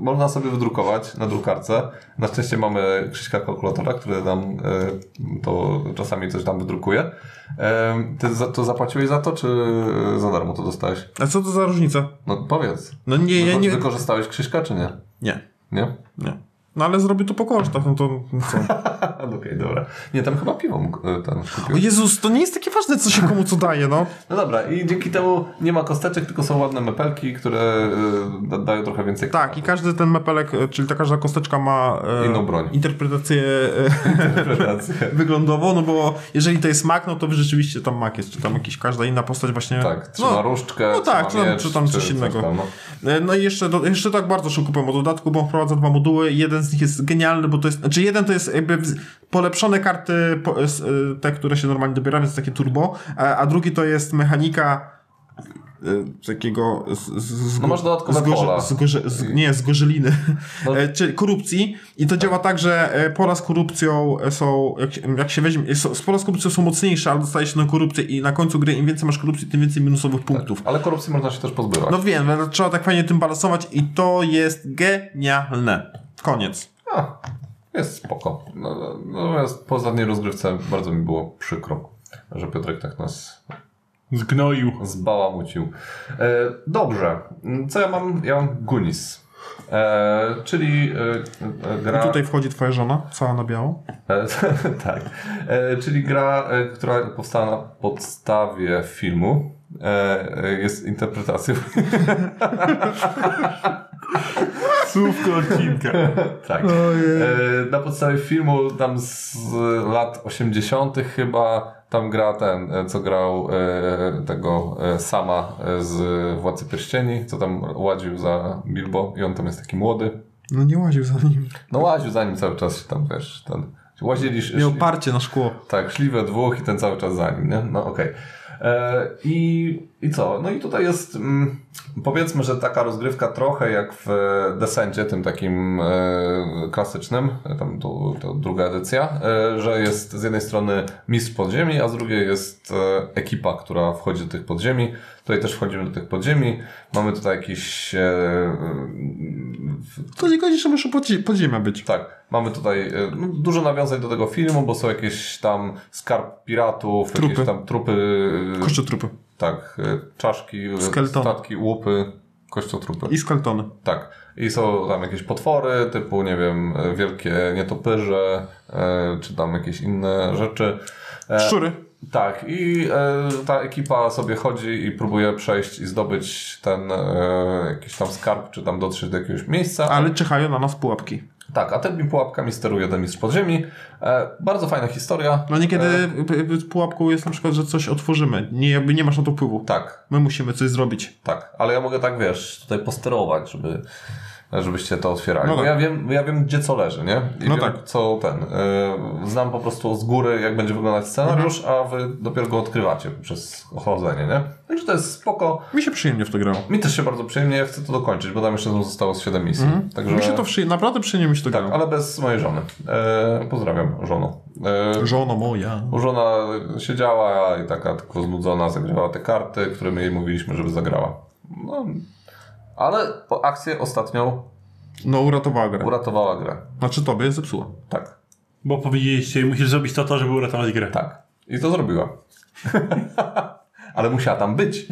Speaker 3: można sobie wydrukować na drukarce. Na szczęście mamy Krzyśka Kalkulatora, który nam e, to czasami coś tam wydrukuje. E, ty za, to zapłaciłeś za to, czy za darmo to dostałeś?
Speaker 1: A co to za różnica?
Speaker 3: No powiedz.
Speaker 1: No nie, ja
Speaker 3: Wyko-
Speaker 1: nie,
Speaker 3: Wykorzystałeś Krzyśka, czy nie?
Speaker 1: nie,
Speaker 3: Nie?
Speaker 1: nie. No ale zrobię to po kosztach, no to no co?
Speaker 3: A, Okej, dobra. Nie, tam chyba piwo mógł e, ten
Speaker 1: O
Speaker 3: kupił.
Speaker 1: Jezus, to nie jest takie ważne, co się komu co daje, no.
Speaker 3: No dobra, i dzięki temu nie ma kosteczek, tylko są ładne mepelki, które e, da, dają trochę więcej.
Speaker 1: Tak, i każdy ten mepelek, e, czyli ta każda kosteczka ma e,
Speaker 3: Inną broń.
Speaker 1: interpretację
Speaker 3: interpretacji.
Speaker 1: e, wyglądową, no bo jeżeli to jest mak, no to rzeczywiście tam mak jest, czy tam jakiś, każda inna postać właśnie...
Speaker 3: Tak, trzyma
Speaker 1: no,
Speaker 3: różdżkę,
Speaker 1: no tak,
Speaker 3: trzyma
Speaker 1: czy tam-
Speaker 3: miecz,
Speaker 1: czy tam coś innego.
Speaker 3: tam, no.
Speaker 1: E, No i jeszcze, do, jeszcze tak bardzo szybko powiem o dodatku, bo on wprowadza dwa moduły. Jeden z nich jest genialny, bo to jest. Znaczy, jeden to jest jakby wz- polepszone karty, po, s- e, te, które się normalnie dobiera, więc takie turbo, a, a drugi to jest mechanika. e, Takiego. Z, z, z,
Speaker 3: No masz dodatkowe pola.
Speaker 1: z, gorze, z, Nie, z gorzeliny.
Speaker 3: No.
Speaker 1: E, Czy korupcji. I to działa tak, że e, pola z korupcją e, są. Jak, się- jak się weźmie. są- Z pola z korupcją są mocniejsze, ale dostajesz na korupcję i na końcu gry im więcej masz korupcji, tym więcej minusowych punktów.
Speaker 3: Ale korupcji można się też pozbywać.
Speaker 1: No wiem, ale trzeba tak fajnie tym balansować i to jest genialne. Koniec.
Speaker 3: A, jest spoko. No, natomiast po ostatniej rozgrywce bardzo mi było przykro, że Piotrek tak nas
Speaker 2: Zgnoił.
Speaker 3: zbałamucił. E, dobrze, co ja mam? Ja mam Gunis. E, czyli e, e, gra...
Speaker 1: I tutaj wchodzi twoja żona, cała na biało.
Speaker 3: E, tak. E, czyli gra, e, która powstała na podstawie filmu. E, e, jest interpretacją.
Speaker 2: Słówko odcinka.
Speaker 3: tak. E, na podstawie filmu tam z lat 80. chyba tam gra ten, e, co grał e, tego e, sama e, z Władcy Pierścieni, co tam łaził za Bilbo i on tam jest taki młody.
Speaker 1: No nie łaził za nim.
Speaker 3: No łaził za nim cały czas się tam wiesz, ten. Łazili,
Speaker 1: Miał
Speaker 3: szli-
Speaker 1: parcie na szkło.
Speaker 3: Tak, szli we dwóch i ten cały czas za nim, nie? No okej. E, I, I co? No i tutaj jest, mm, powiedzmy, że taka rozgrywka trochę jak w Descencie, tym takim e, klasycznym, e, tam to, to druga edycja, e, że jest z jednej strony mistrz podziemi, a z drugiej jest e, ekipa, która wchodzi do tych podziemi. Tutaj też wchodzimy do tych podziemi. Mamy tutaj jakiś e,
Speaker 1: To nie godzi, że muszą podzie- podziemia być.
Speaker 3: tak, mamy tutaj y, no, dużo nawiązań do tego filmu, bo są jakieś tam skarb piratów,
Speaker 1: Trupy.
Speaker 3: jakieś tam trupy, y,
Speaker 1: Koszczotrupy.
Speaker 3: tak, y, czaszki, y,
Speaker 1: Skeletony.
Speaker 3: statki, łupy, kościotrupy.
Speaker 1: I skeltony.
Speaker 3: Tak. I są tam jakieś potwory, typu, nie wiem, y, wielkie e, nietoperze, e, czy tam jakieś inne rzeczy. E,
Speaker 1: Szczury.
Speaker 3: tak, i e, ta ekipa sobie chodzi i próbuje przejść i zdobyć ten e, jakiś tam skarb, czy tam dotrzeć do jakiegoś miejsca.
Speaker 1: Ale czyhają na nas pułapki.
Speaker 3: Tak, a tymi pułapkami steruje ten mistrz podziemi. E, bardzo fajna historia.
Speaker 1: No
Speaker 3: E,
Speaker 1: niekiedy p- p- pułapką jest na przykład, że coś otworzymy. Nie, jakby nie masz na to wpływu.
Speaker 3: tak,
Speaker 1: My musimy coś zrobić.
Speaker 3: tak, ale ja mogę tak, wiesz, tutaj posterować, żeby, żebyście to otwierali.
Speaker 1: No
Speaker 3: Bo
Speaker 1: tak.
Speaker 3: ja, wiem, ja wiem, gdzie co leży, nie? I
Speaker 1: No
Speaker 3: wiem,
Speaker 1: tak.
Speaker 3: co ten. E, znam po prostu z góry, jak będzie wyglądać scenariusz,
Speaker 1: Mhm.
Speaker 3: a wy dopiero go odkrywacie przez chodzenie, nie? Także to jest spoko.
Speaker 1: Mi się przyjemnie w to grało.
Speaker 3: Mi też się bardzo przyjemnie, ja chcę to dokończyć, bo tam jeszcze zostało z 7 misji. Także,
Speaker 1: Mhm. Mi się to przy... Naprawdę przyjemnie mi się to
Speaker 3: Tak,
Speaker 1: grało.
Speaker 3: ale bez mojej żony. E, pozdrawiam żoną. E,
Speaker 1: Żono moja.
Speaker 3: Bo Żona siedziała i taka tylko znudzona zagrywała te karty, które my jej mówiliśmy, żeby zagrała. No, ale po- akcję ostatnią
Speaker 1: No uratowała grę.
Speaker 3: uratowała grę.
Speaker 1: Znaczy tobie zepsuła.
Speaker 3: Tak,
Speaker 2: Bo powiedzieliście, musisz zrobić to, to, żeby uratować grę.
Speaker 3: tak. I to zrobiła. ale musiała tam być.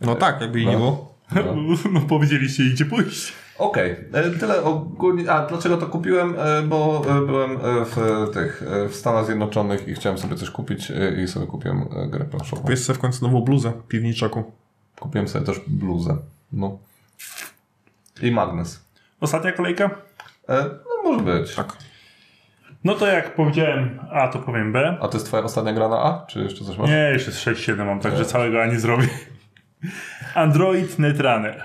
Speaker 1: No tak, jakby jej nie było.
Speaker 3: No.
Speaker 2: No powiedzieliście, idzie pójść.
Speaker 3: Okej, e, tyle ogólnie. A dlaczego to kupiłem? E, Bo e, byłem e, w e, tych e, w Stanach Zjednoczonych i chciałem sobie coś kupić e, i sobie kupiłem e, grę planszową.
Speaker 1: Wiesz sobie w końcu nową bluzę piwniczaku.
Speaker 3: Kupiłem sobie też bluzę. No. I magnes.
Speaker 2: Ostatnia kolejka?
Speaker 3: E, No może być.
Speaker 1: Tak.
Speaker 2: No to jak powiedziałem A, to powiem B.
Speaker 3: A to jest twoja ostatnia gra na A? Czy jeszcze coś masz?
Speaker 2: Nie, jeszcze z 6-7 mam,
Speaker 1: Tak.
Speaker 2: także całego A nie zrobię. Android Netrunner.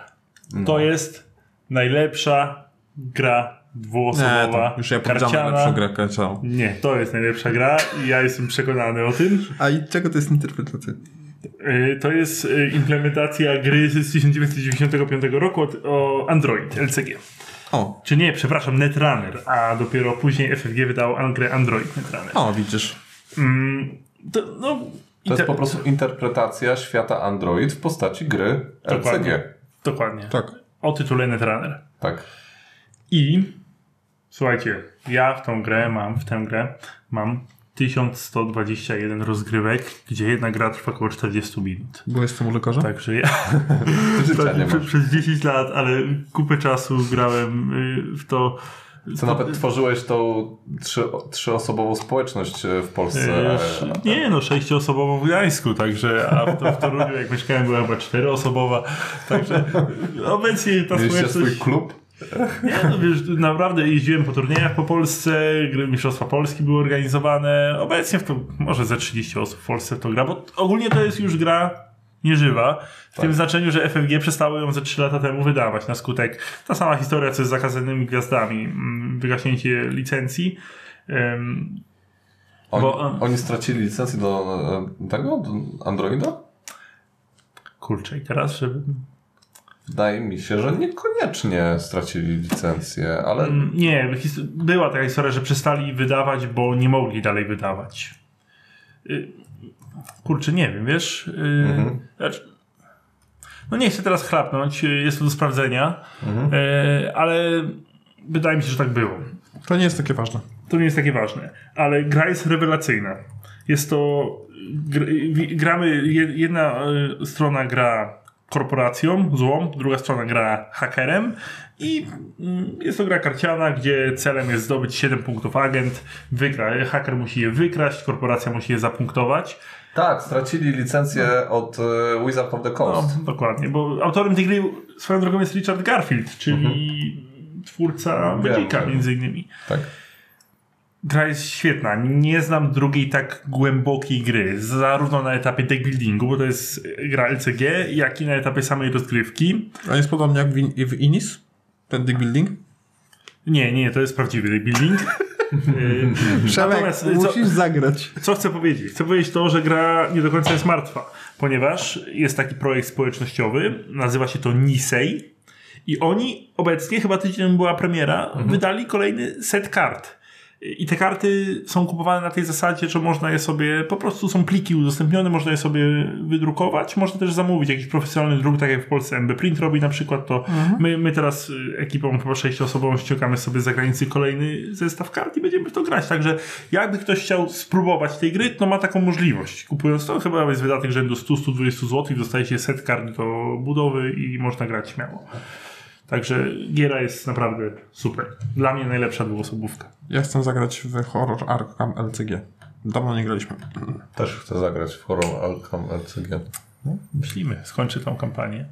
Speaker 1: No.
Speaker 2: To jest najlepsza gra
Speaker 1: Nie,
Speaker 2: dwuosobowa,
Speaker 1: to już ja powiedziałem
Speaker 2: karciana.
Speaker 1: lepszą grę karcianą.
Speaker 2: Nie, to jest najlepsza gra i ja jestem przekonany o tym.
Speaker 1: A i czego to jest interpretacja?
Speaker 2: Yy, To jest yy, implementacja gry z 1995 roku od, o Android LCG.
Speaker 1: O,
Speaker 2: Czy nie, przepraszam, Netrunner, a dopiero później FFG wydał grę Android Netrunner.
Speaker 1: o widzisz.
Speaker 2: Mm, to, no,
Speaker 3: To jest
Speaker 2: inter-
Speaker 3: po prostu interpretacja świata Android w postaci gry
Speaker 2: Dokładnie.
Speaker 3: LCG.
Speaker 2: Dokładnie.
Speaker 1: Tak.
Speaker 2: O tytule Netrunner.
Speaker 3: Tak.
Speaker 2: I słuchajcie, ja w tą grę mam, w tę grę mam 1121 rozgrywek, gdzie jedna gra trwa około 40 minut.
Speaker 1: Bo jestem u lekarza?
Speaker 2: Także ja
Speaker 3: Życia nie
Speaker 2: przez,
Speaker 3: masz.
Speaker 2: przez 10 lat, ale kupę czasu grałem y, w to.
Speaker 3: Co nawet tworzyłeś tą trzy, trzyosobową społeczność e, w Polsce.
Speaker 2: Y,
Speaker 3: E,
Speaker 2: Nie no, sześcioosobowo w Gdańsku, także a w, to, w Toruniu jak mieszkałem była chyba czteroosobowa, także obecnie ta
Speaker 3: Mieliście swój
Speaker 2: społeczność...
Speaker 3: klub?
Speaker 2: Nie, no wiesz, naprawdę jeździłem po turniejach po Polsce, gry Mistrzostwa Polski były organizowane. Obecnie w to może ze 30 osób w Polsce w to gra, bo t- ogólnie to jest już gra nieżywa, w
Speaker 3: Tak.
Speaker 2: tym znaczeniu, że FFG przestało ją ze 3 lata temu wydawać na skutek. Ta sama historia, co z zakazanymi gwiazdami, mm, wygaśnięcie licencji. Em,
Speaker 3: Oni,
Speaker 2: Bo- e-
Speaker 3: oni stracili licencję do e, tego? Do Androida?
Speaker 2: kurczę, i teraz, żeby...
Speaker 3: Wydaje mi się, że niekoniecznie stracili licencję, ale
Speaker 2: Mm, Nie, his- była taka historia, że przestali wydawać, bo nie mogli dalej wydawać. Y, Kurczę, nie wiem, wiesz? y, znaczy- No nie chcę teraz chlapnąć, y, jest to do sprawdzenia, y, ale wydaje mi się, że tak było.
Speaker 1: To nie jest takie ważne.
Speaker 2: To nie jest takie ważne, ale gra jest rewelacyjna. Jest to. gr- wi- Gramy. je- Jedna y, strona gra korporacją, złą, druga strona gra hakerem i mm, jest to gra karciana, gdzie celem jest zdobyć 7 punktów agent, wygra, haker musi je wykraść, korporacja musi je zapunktować.
Speaker 3: tak, stracili licencję od e, Wizard of the
Speaker 2: No,
Speaker 3: Coast.
Speaker 2: dokładnie, bo autorem tej gry swoją drogą jest Richard Garfield, czyli twórca
Speaker 3: Mhm. Wiem,
Speaker 2: Magicka
Speaker 3: wiem.
Speaker 2: między innymi.
Speaker 3: Tak.
Speaker 2: Gra jest świetna. Nie znam drugiej tak głębokiej gry. Zarówno na etapie deckbuildingu, bo to jest gra LCG, jak i na etapie samej rozgrywki.
Speaker 1: A jest podobnie jak w, in- w Inis? Ten dig building?
Speaker 2: Nie, nie, to jest prawdziwy deckbuilding. Y, Natomiast y, co,
Speaker 1: zagrać.
Speaker 2: co chcę powiedzieć? Chcę powiedzieć to, że gra nie do końca jest martwa, ponieważ jest taki projekt społecznościowy, nazywa się to Nisei i oni obecnie, chyba tydzień temu była premiera, wydali kolejny set kart. I te karty są kupowane na tej zasadzie, że można je sobie, po prostu są pliki udostępnione, można je sobie wydrukować, można też zamówić jakiś profesjonalny druk, tak jak w Polsce MB Print robi na przykład, to my, my teraz y, ekipą chyba sześcioosobową ściągamy sobie z zagranicy kolejny zestaw kart i będziemy w to grać, także jakby ktoś chciał spróbować tej gry, to ma taką możliwość. Kupując to chyba jest wydatek rzędu 100-120 zł, dostajecie set kart do budowy i można grać śmiało. Także giera jest naprawdę super. Dla mnie najlepsza dwuosobówka.
Speaker 1: Ja chcę zagrać w horror Arkham LCG. Dawno nie graliśmy.
Speaker 3: Też chcę zagrać w Horror Outcome LCG.
Speaker 2: No, myślimy. Skończy tą kampanię.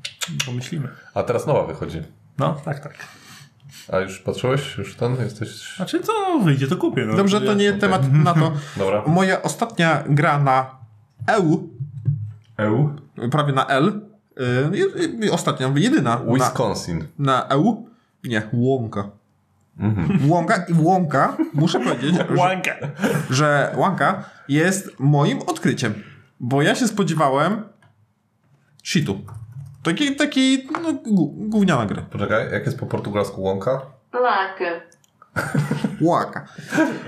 Speaker 2: Pomyślimy.
Speaker 3: A teraz nowa wychodzi.
Speaker 2: No, tak, tak.
Speaker 3: A już patrzyłeś? Już ten? Jesteś...
Speaker 2: Znaczy, co wyjdzie, to kupię. No.
Speaker 1: Dobrze, to nie
Speaker 3: jasne,
Speaker 1: temat na to.
Speaker 3: Dobra.
Speaker 1: Moja ostatnia gra na EU,
Speaker 3: EU?
Speaker 1: prawie na L, y, y, y, ostatnia, jedyna na,
Speaker 3: Wisconsin.
Speaker 1: na EU, nie, Łąka. Łąka i Łąka, muszę powiedzieć, że,
Speaker 2: Łanka.
Speaker 1: że Łąka jest moim odkryciem, bo ja się spodziewałem shitu. Takiej, takiej no, gó- gówniana gry.
Speaker 3: Poczekaj, jak jest po portugalsku łąka?
Speaker 4: Lakę.
Speaker 1: Łaka.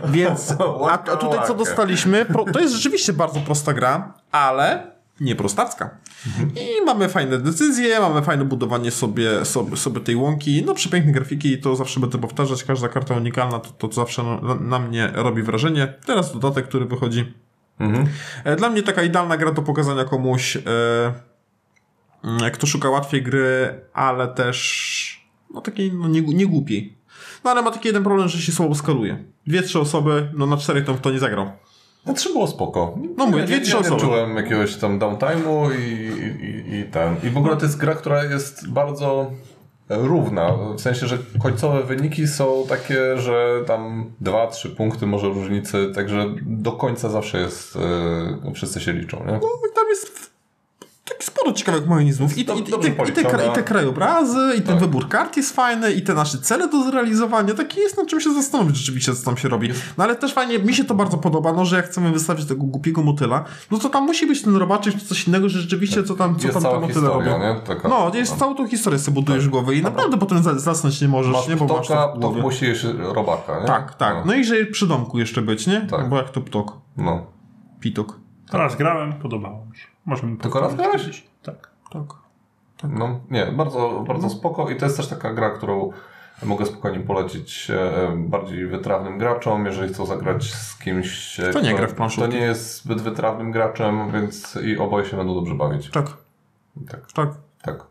Speaker 1: Więc, a, a
Speaker 3: Łaka,
Speaker 1: tutaj
Speaker 3: łaka.
Speaker 1: co dostaliśmy, pro, to jest rzeczywiście bardzo prosta gra, ale nie prostacka.
Speaker 3: Mhm.
Speaker 1: I mamy fajne decyzje, mamy fajne budowanie sobie, sobie, sobie tej łąki, no przepiękne grafiki i to zawsze będę powtarzać, każda karta unikalna to, to zawsze na, na mnie robi wrażenie. Teraz dodatek, który wychodzi.
Speaker 3: Mhm.
Speaker 1: E, Dla mnie taka idealna gra do pokazania komuś, e, mm, kto szuka łatwiej gry, ale też no takiej no, nie, nie głupiej. No ale ma taki jeden problem, że się słabo skaluje. Dwie, trzy osoby, no na czterech to w to nie zagrał.
Speaker 3: Znaczy było spoko.
Speaker 1: No mówię,
Speaker 3: Ja-
Speaker 1: dwie,
Speaker 3: ja-
Speaker 1: trzy
Speaker 3: ja
Speaker 1: osoby.
Speaker 3: Nie czułem jakiegoś tam downtime'u i, i, i, i ten. I w ogóle to jest gra, która jest bardzo równa. W sensie, że końcowe wyniki są takie, że tam dwa, trzy punkty może różnicy, także do końca zawsze jest, yy, wszyscy się liczą, nie?
Speaker 1: No i tam jest tak sporo ciekawych mechanizmów. I, i, i,
Speaker 3: Dobrze
Speaker 1: te, i, te,
Speaker 3: policzone.
Speaker 1: kra- I te krajobrazy, i ten
Speaker 3: Tak.
Speaker 1: wybór kart jest fajny, i te nasze cele do zrealizowania. Takie jest na czym się zastanowić rzeczywiście, co tam się robi. No ale też fajnie, mi się to bardzo podoba, no że jak chcemy wystawić tego głupiego motyla, no to tam musi być ten robaczyk czy coś innego, że rzeczywiście co tam, co
Speaker 3: jest
Speaker 1: tam te
Speaker 3: cała
Speaker 1: motyle
Speaker 3: historia,
Speaker 1: robią.
Speaker 3: nie? Tak. Taka,
Speaker 1: No, jest całą tą historię sobie budujesz w głowy i naprawdę potem za- zasnąć nie możesz,
Speaker 3: Masz
Speaker 1: nie? Bo masz
Speaker 3: ptoka,
Speaker 1: to w
Speaker 3: to
Speaker 1: głowie.
Speaker 3: musi jeszcze robaka, nie?
Speaker 1: Tak, tak.
Speaker 3: No.
Speaker 1: No i że przy domku jeszcze być, nie?
Speaker 3: Tak.
Speaker 1: Bo jak to ptok,
Speaker 3: no.
Speaker 1: pitok.
Speaker 2: Raz grałem, podobało mi się. Możemy
Speaker 3: Tylko raz
Speaker 2: powtórzyć.
Speaker 3: grałeś?
Speaker 2: Tak.
Speaker 1: Tak.
Speaker 3: No, nie, bardzo, bardzo spoko i to jest też taka gra, którą mogę spokojnie polecić e, bardziej wytrawnym graczom, jeżeli chcą zagrać z kimś, e,
Speaker 1: Kto nie
Speaker 3: kto-
Speaker 1: gra w planszówki.
Speaker 3: kto nie jest zbyt wytrawnym graczem, więc i oboje się będą dobrze bawić.
Speaker 1: Tak,
Speaker 3: Tak,
Speaker 1: tak,
Speaker 3: tak.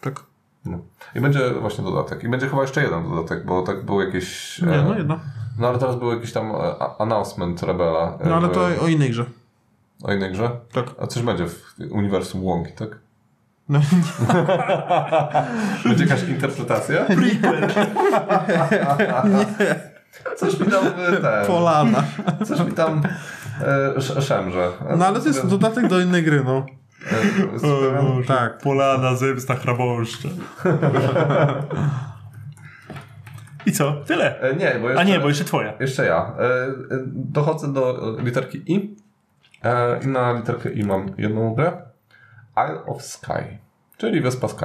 Speaker 1: tak.
Speaker 3: No. I będzie właśnie dodatek. I będzie chyba jeszcze jeden dodatek, bo tak był jakiś... e,
Speaker 1: Nie, no jedna.
Speaker 3: no ale teraz był jakiś tam e, a- announcement Rebela. e,
Speaker 1: No ale
Speaker 3: że-
Speaker 1: to o innej grze.
Speaker 3: O innej grze?
Speaker 1: Tak.
Speaker 3: A coś będzie w uniwersum Łąki, tak?
Speaker 1: No,
Speaker 3: Będzie jakaś interpretacja? Coś mi tam e, ten,
Speaker 1: Polana.
Speaker 3: Coś mi tam e, sz- szemrze.
Speaker 1: No ale to jest dodatek do innej gry, no.
Speaker 3: E, z-
Speaker 1: Tak.
Speaker 2: Polana, zemsta, chrabąszcza. I co? Tyle.
Speaker 3: e, nie, bo jeszcze,
Speaker 2: A nie, bo jeszcze twoja.
Speaker 3: jeszcze ja. E, e, dochodzę do e, literki I. E, I na literkę I mam jedną grę. Isle of Sky. Czyli Wyspa Sky.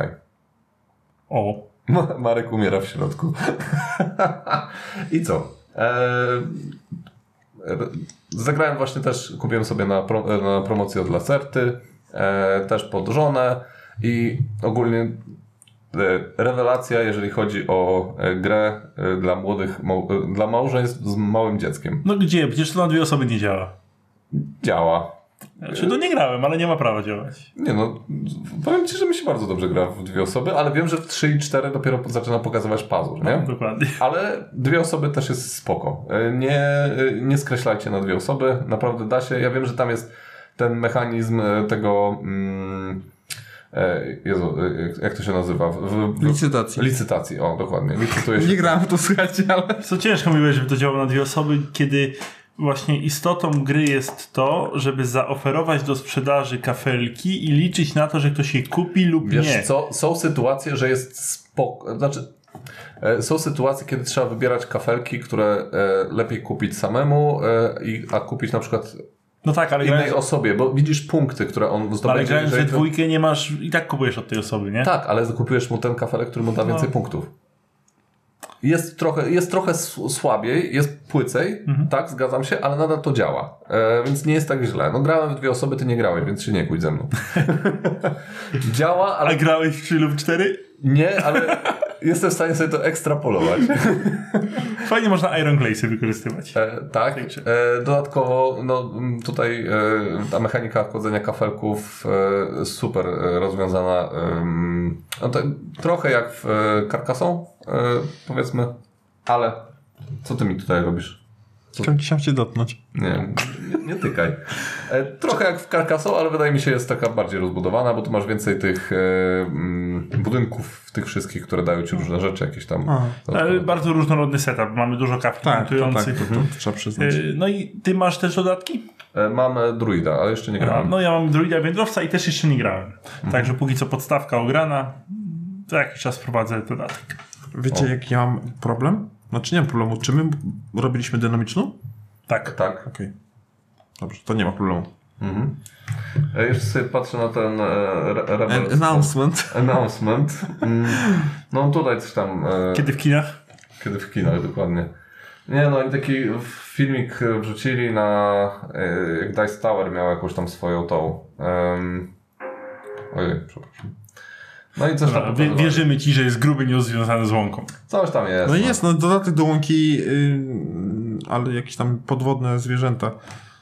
Speaker 2: O.
Speaker 3: Ma- Marek umiera w środku. I co? Eee, r- zagrałem właśnie też, kupiłem sobie na, pro, na promocję od Lacerty, eee, też pod żonę i ogólnie e, rewelacja, jeżeli chodzi o e, grę e, dla młodych, mał, e, dla małżeństw z małym dzieckiem.
Speaker 2: No gdzie? Przecież to na dwie osoby nie działa.
Speaker 3: Działa.
Speaker 2: Znaczy, no nie grałem, ale nie ma prawa działać.
Speaker 3: Nie no, powiem Ci, że mi się bardzo dobrze gra w dwie osoby, ale wiem, że w trzy i cztery dopiero zaczyna pokazywać pazur,
Speaker 2: No,
Speaker 3: nie?
Speaker 2: Dokładnie.
Speaker 3: Ale dwie osoby też jest spoko. Y, Nie, y, nie skreślajcie na dwie osoby, naprawdę da się. Ja wiem, że tam jest ten mechanizm y, tego. Mm, e, Jezu, y, jak to się nazywa? W, w, w,
Speaker 1: Licytacji.
Speaker 3: licytacji, o dokładnie. Licytuje się.
Speaker 1: Nie grałem w to, słuchajcie, ale...
Speaker 2: Co ciężko mi będzie, żeby to działało na dwie osoby, kiedy właśnie istotą gry jest to, żeby zaoferować do sprzedaży kafelki i liczyć na to, że ktoś je kupi lub
Speaker 3: Wiesz
Speaker 2: nie.
Speaker 3: co, są sytuacje, że jest spoko, znaczy e, są sytuacje, kiedy trzeba wybierać kafelki, które e, lepiej kupić samemu, e, i- a kupić na przykład
Speaker 2: No tak, ale grając,
Speaker 3: innej osobie, bo widzisz punkty, które on zdobędzie.
Speaker 2: ale grając we
Speaker 3: jeżeli to-
Speaker 2: dwójkę nie masz i tak kupujesz od tej osoby, nie?
Speaker 3: Tak, ale kupujesz mu ten kafelek, który mu da więcej punktów. Jest trochę, jest trochę s- słabiej, jest płycej, tak, zgadzam się, ale nadal to działa. E, więc nie jest tak źle. No grałem w dwie osoby, ty nie grałeś, więc się nie kłóć ze mną. działa, ale
Speaker 2: A grałeś w 3 lub 4?
Speaker 3: nie, ale jestem w stanie sobie to ekstrapolować.
Speaker 2: Fajnie można Iron Glace'y wykorzystywać.
Speaker 3: E, tak. E, dodatkowo, no m, tutaj e, ta mechanika chodzenia kafelków e, super e, rozwiązana. em, no, to, trochę jak w e, karkasą, e, powiedzmy, ale co ty mi tutaj robisz?
Speaker 1: Chciałem, chciałem cię dotknąć.
Speaker 3: Nie, nie, nie tykaj. E, trochę jak w Carcassonne, ale wydaje mi się jest taka bardziej rozbudowana, bo tu masz więcej tych e, mm, budynków, tych wszystkich, które dają ci różne rzeczy, jakieś tam...
Speaker 1: Aha.
Speaker 2: Ale bardzo różnorodny setup, mamy dużo kafli
Speaker 1: Tak, to, tak, to,
Speaker 2: montujących.
Speaker 1: to trzeba przyznać.
Speaker 2: E, No i ty masz też dodatki?
Speaker 3: E, mam e, druida, ale jeszcze nie grałem.
Speaker 2: No ja mam druida wędrowca i też jeszcze nie grałem.
Speaker 3: Mhm.
Speaker 2: Także póki co podstawka ograna, za jakiś czas wprowadzę dodatek.
Speaker 1: Wiecie, jak ja mam problem? Znaczy nie mam problemu. Czy my robiliśmy dynamiczną?
Speaker 2: Tak.
Speaker 3: Tak.
Speaker 1: Okej. Dobrze, to nie ma problemu.
Speaker 3: Mhm. E, Jeszcze sobie patrzę na ten e, re-
Speaker 1: An
Speaker 3: Rebels
Speaker 1: announcement.
Speaker 3: announcement. Mm. No tutaj coś tam, e, kiedy?
Speaker 2: Kiedy w kinach?
Speaker 3: w kinach dokładnie. Nie no, oni taki filmik e, wrzucili na, e, jak Dice Tower miał jakąś tam swoją tą, em, ojej, przepraszam. No i coś tam,
Speaker 2: Wie,
Speaker 3: pokazywali.
Speaker 2: wierzymy ci, że jest gruby news związany z łąką.
Speaker 3: coś tam jest.
Speaker 1: No i jest, no dodatek do łąki, yy, ale jakieś tam podwodne zwierzęta.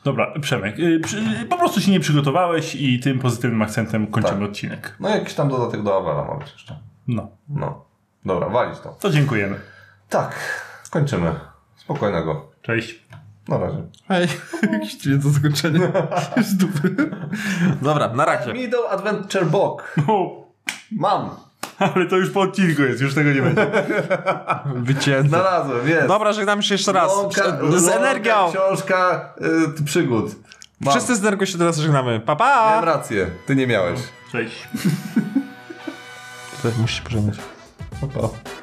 Speaker 2: Dobra, Przemek, y, przy, po prostu się nie przygotowałeś i tym pozytywnym akcentem kończymy
Speaker 3: Tak.
Speaker 2: odcinek.
Speaker 3: No jakiś tam dodatek do Avela ma być jeszcze.
Speaker 2: No,
Speaker 3: No. Dobra, walić to.
Speaker 2: to dziękujemy.
Speaker 3: Tak, kończymy. Spokojnego.
Speaker 2: Cześć.
Speaker 3: Na razie.
Speaker 1: Hej, jakieś dźwięk do zakończenia. Już z dupy. Dobra, na razie.
Speaker 3: Middle Adventure Book.
Speaker 2: O,
Speaker 3: Mam.
Speaker 2: ale to już po odcinku jest, już tego nie będzie.
Speaker 1: Wycięte.
Speaker 3: Znalazłem, jest.
Speaker 1: Dobra, żegnamy się jeszcze raz.
Speaker 3: Ląka-
Speaker 1: Z
Speaker 3: ląka,
Speaker 1: energią.
Speaker 3: Książka y, przygód. Mam.
Speaker 1: Wszyscy z energią się teraz żegnamy. Pa,
Speaker 3: Miałem
Speaker 1: pa!
Speaker 3: rację, ty nie miałeś.
Speaker 2: Cześć.
Speaker 1: Musisz się pożegnać.
Speaker 3: Pa, pa.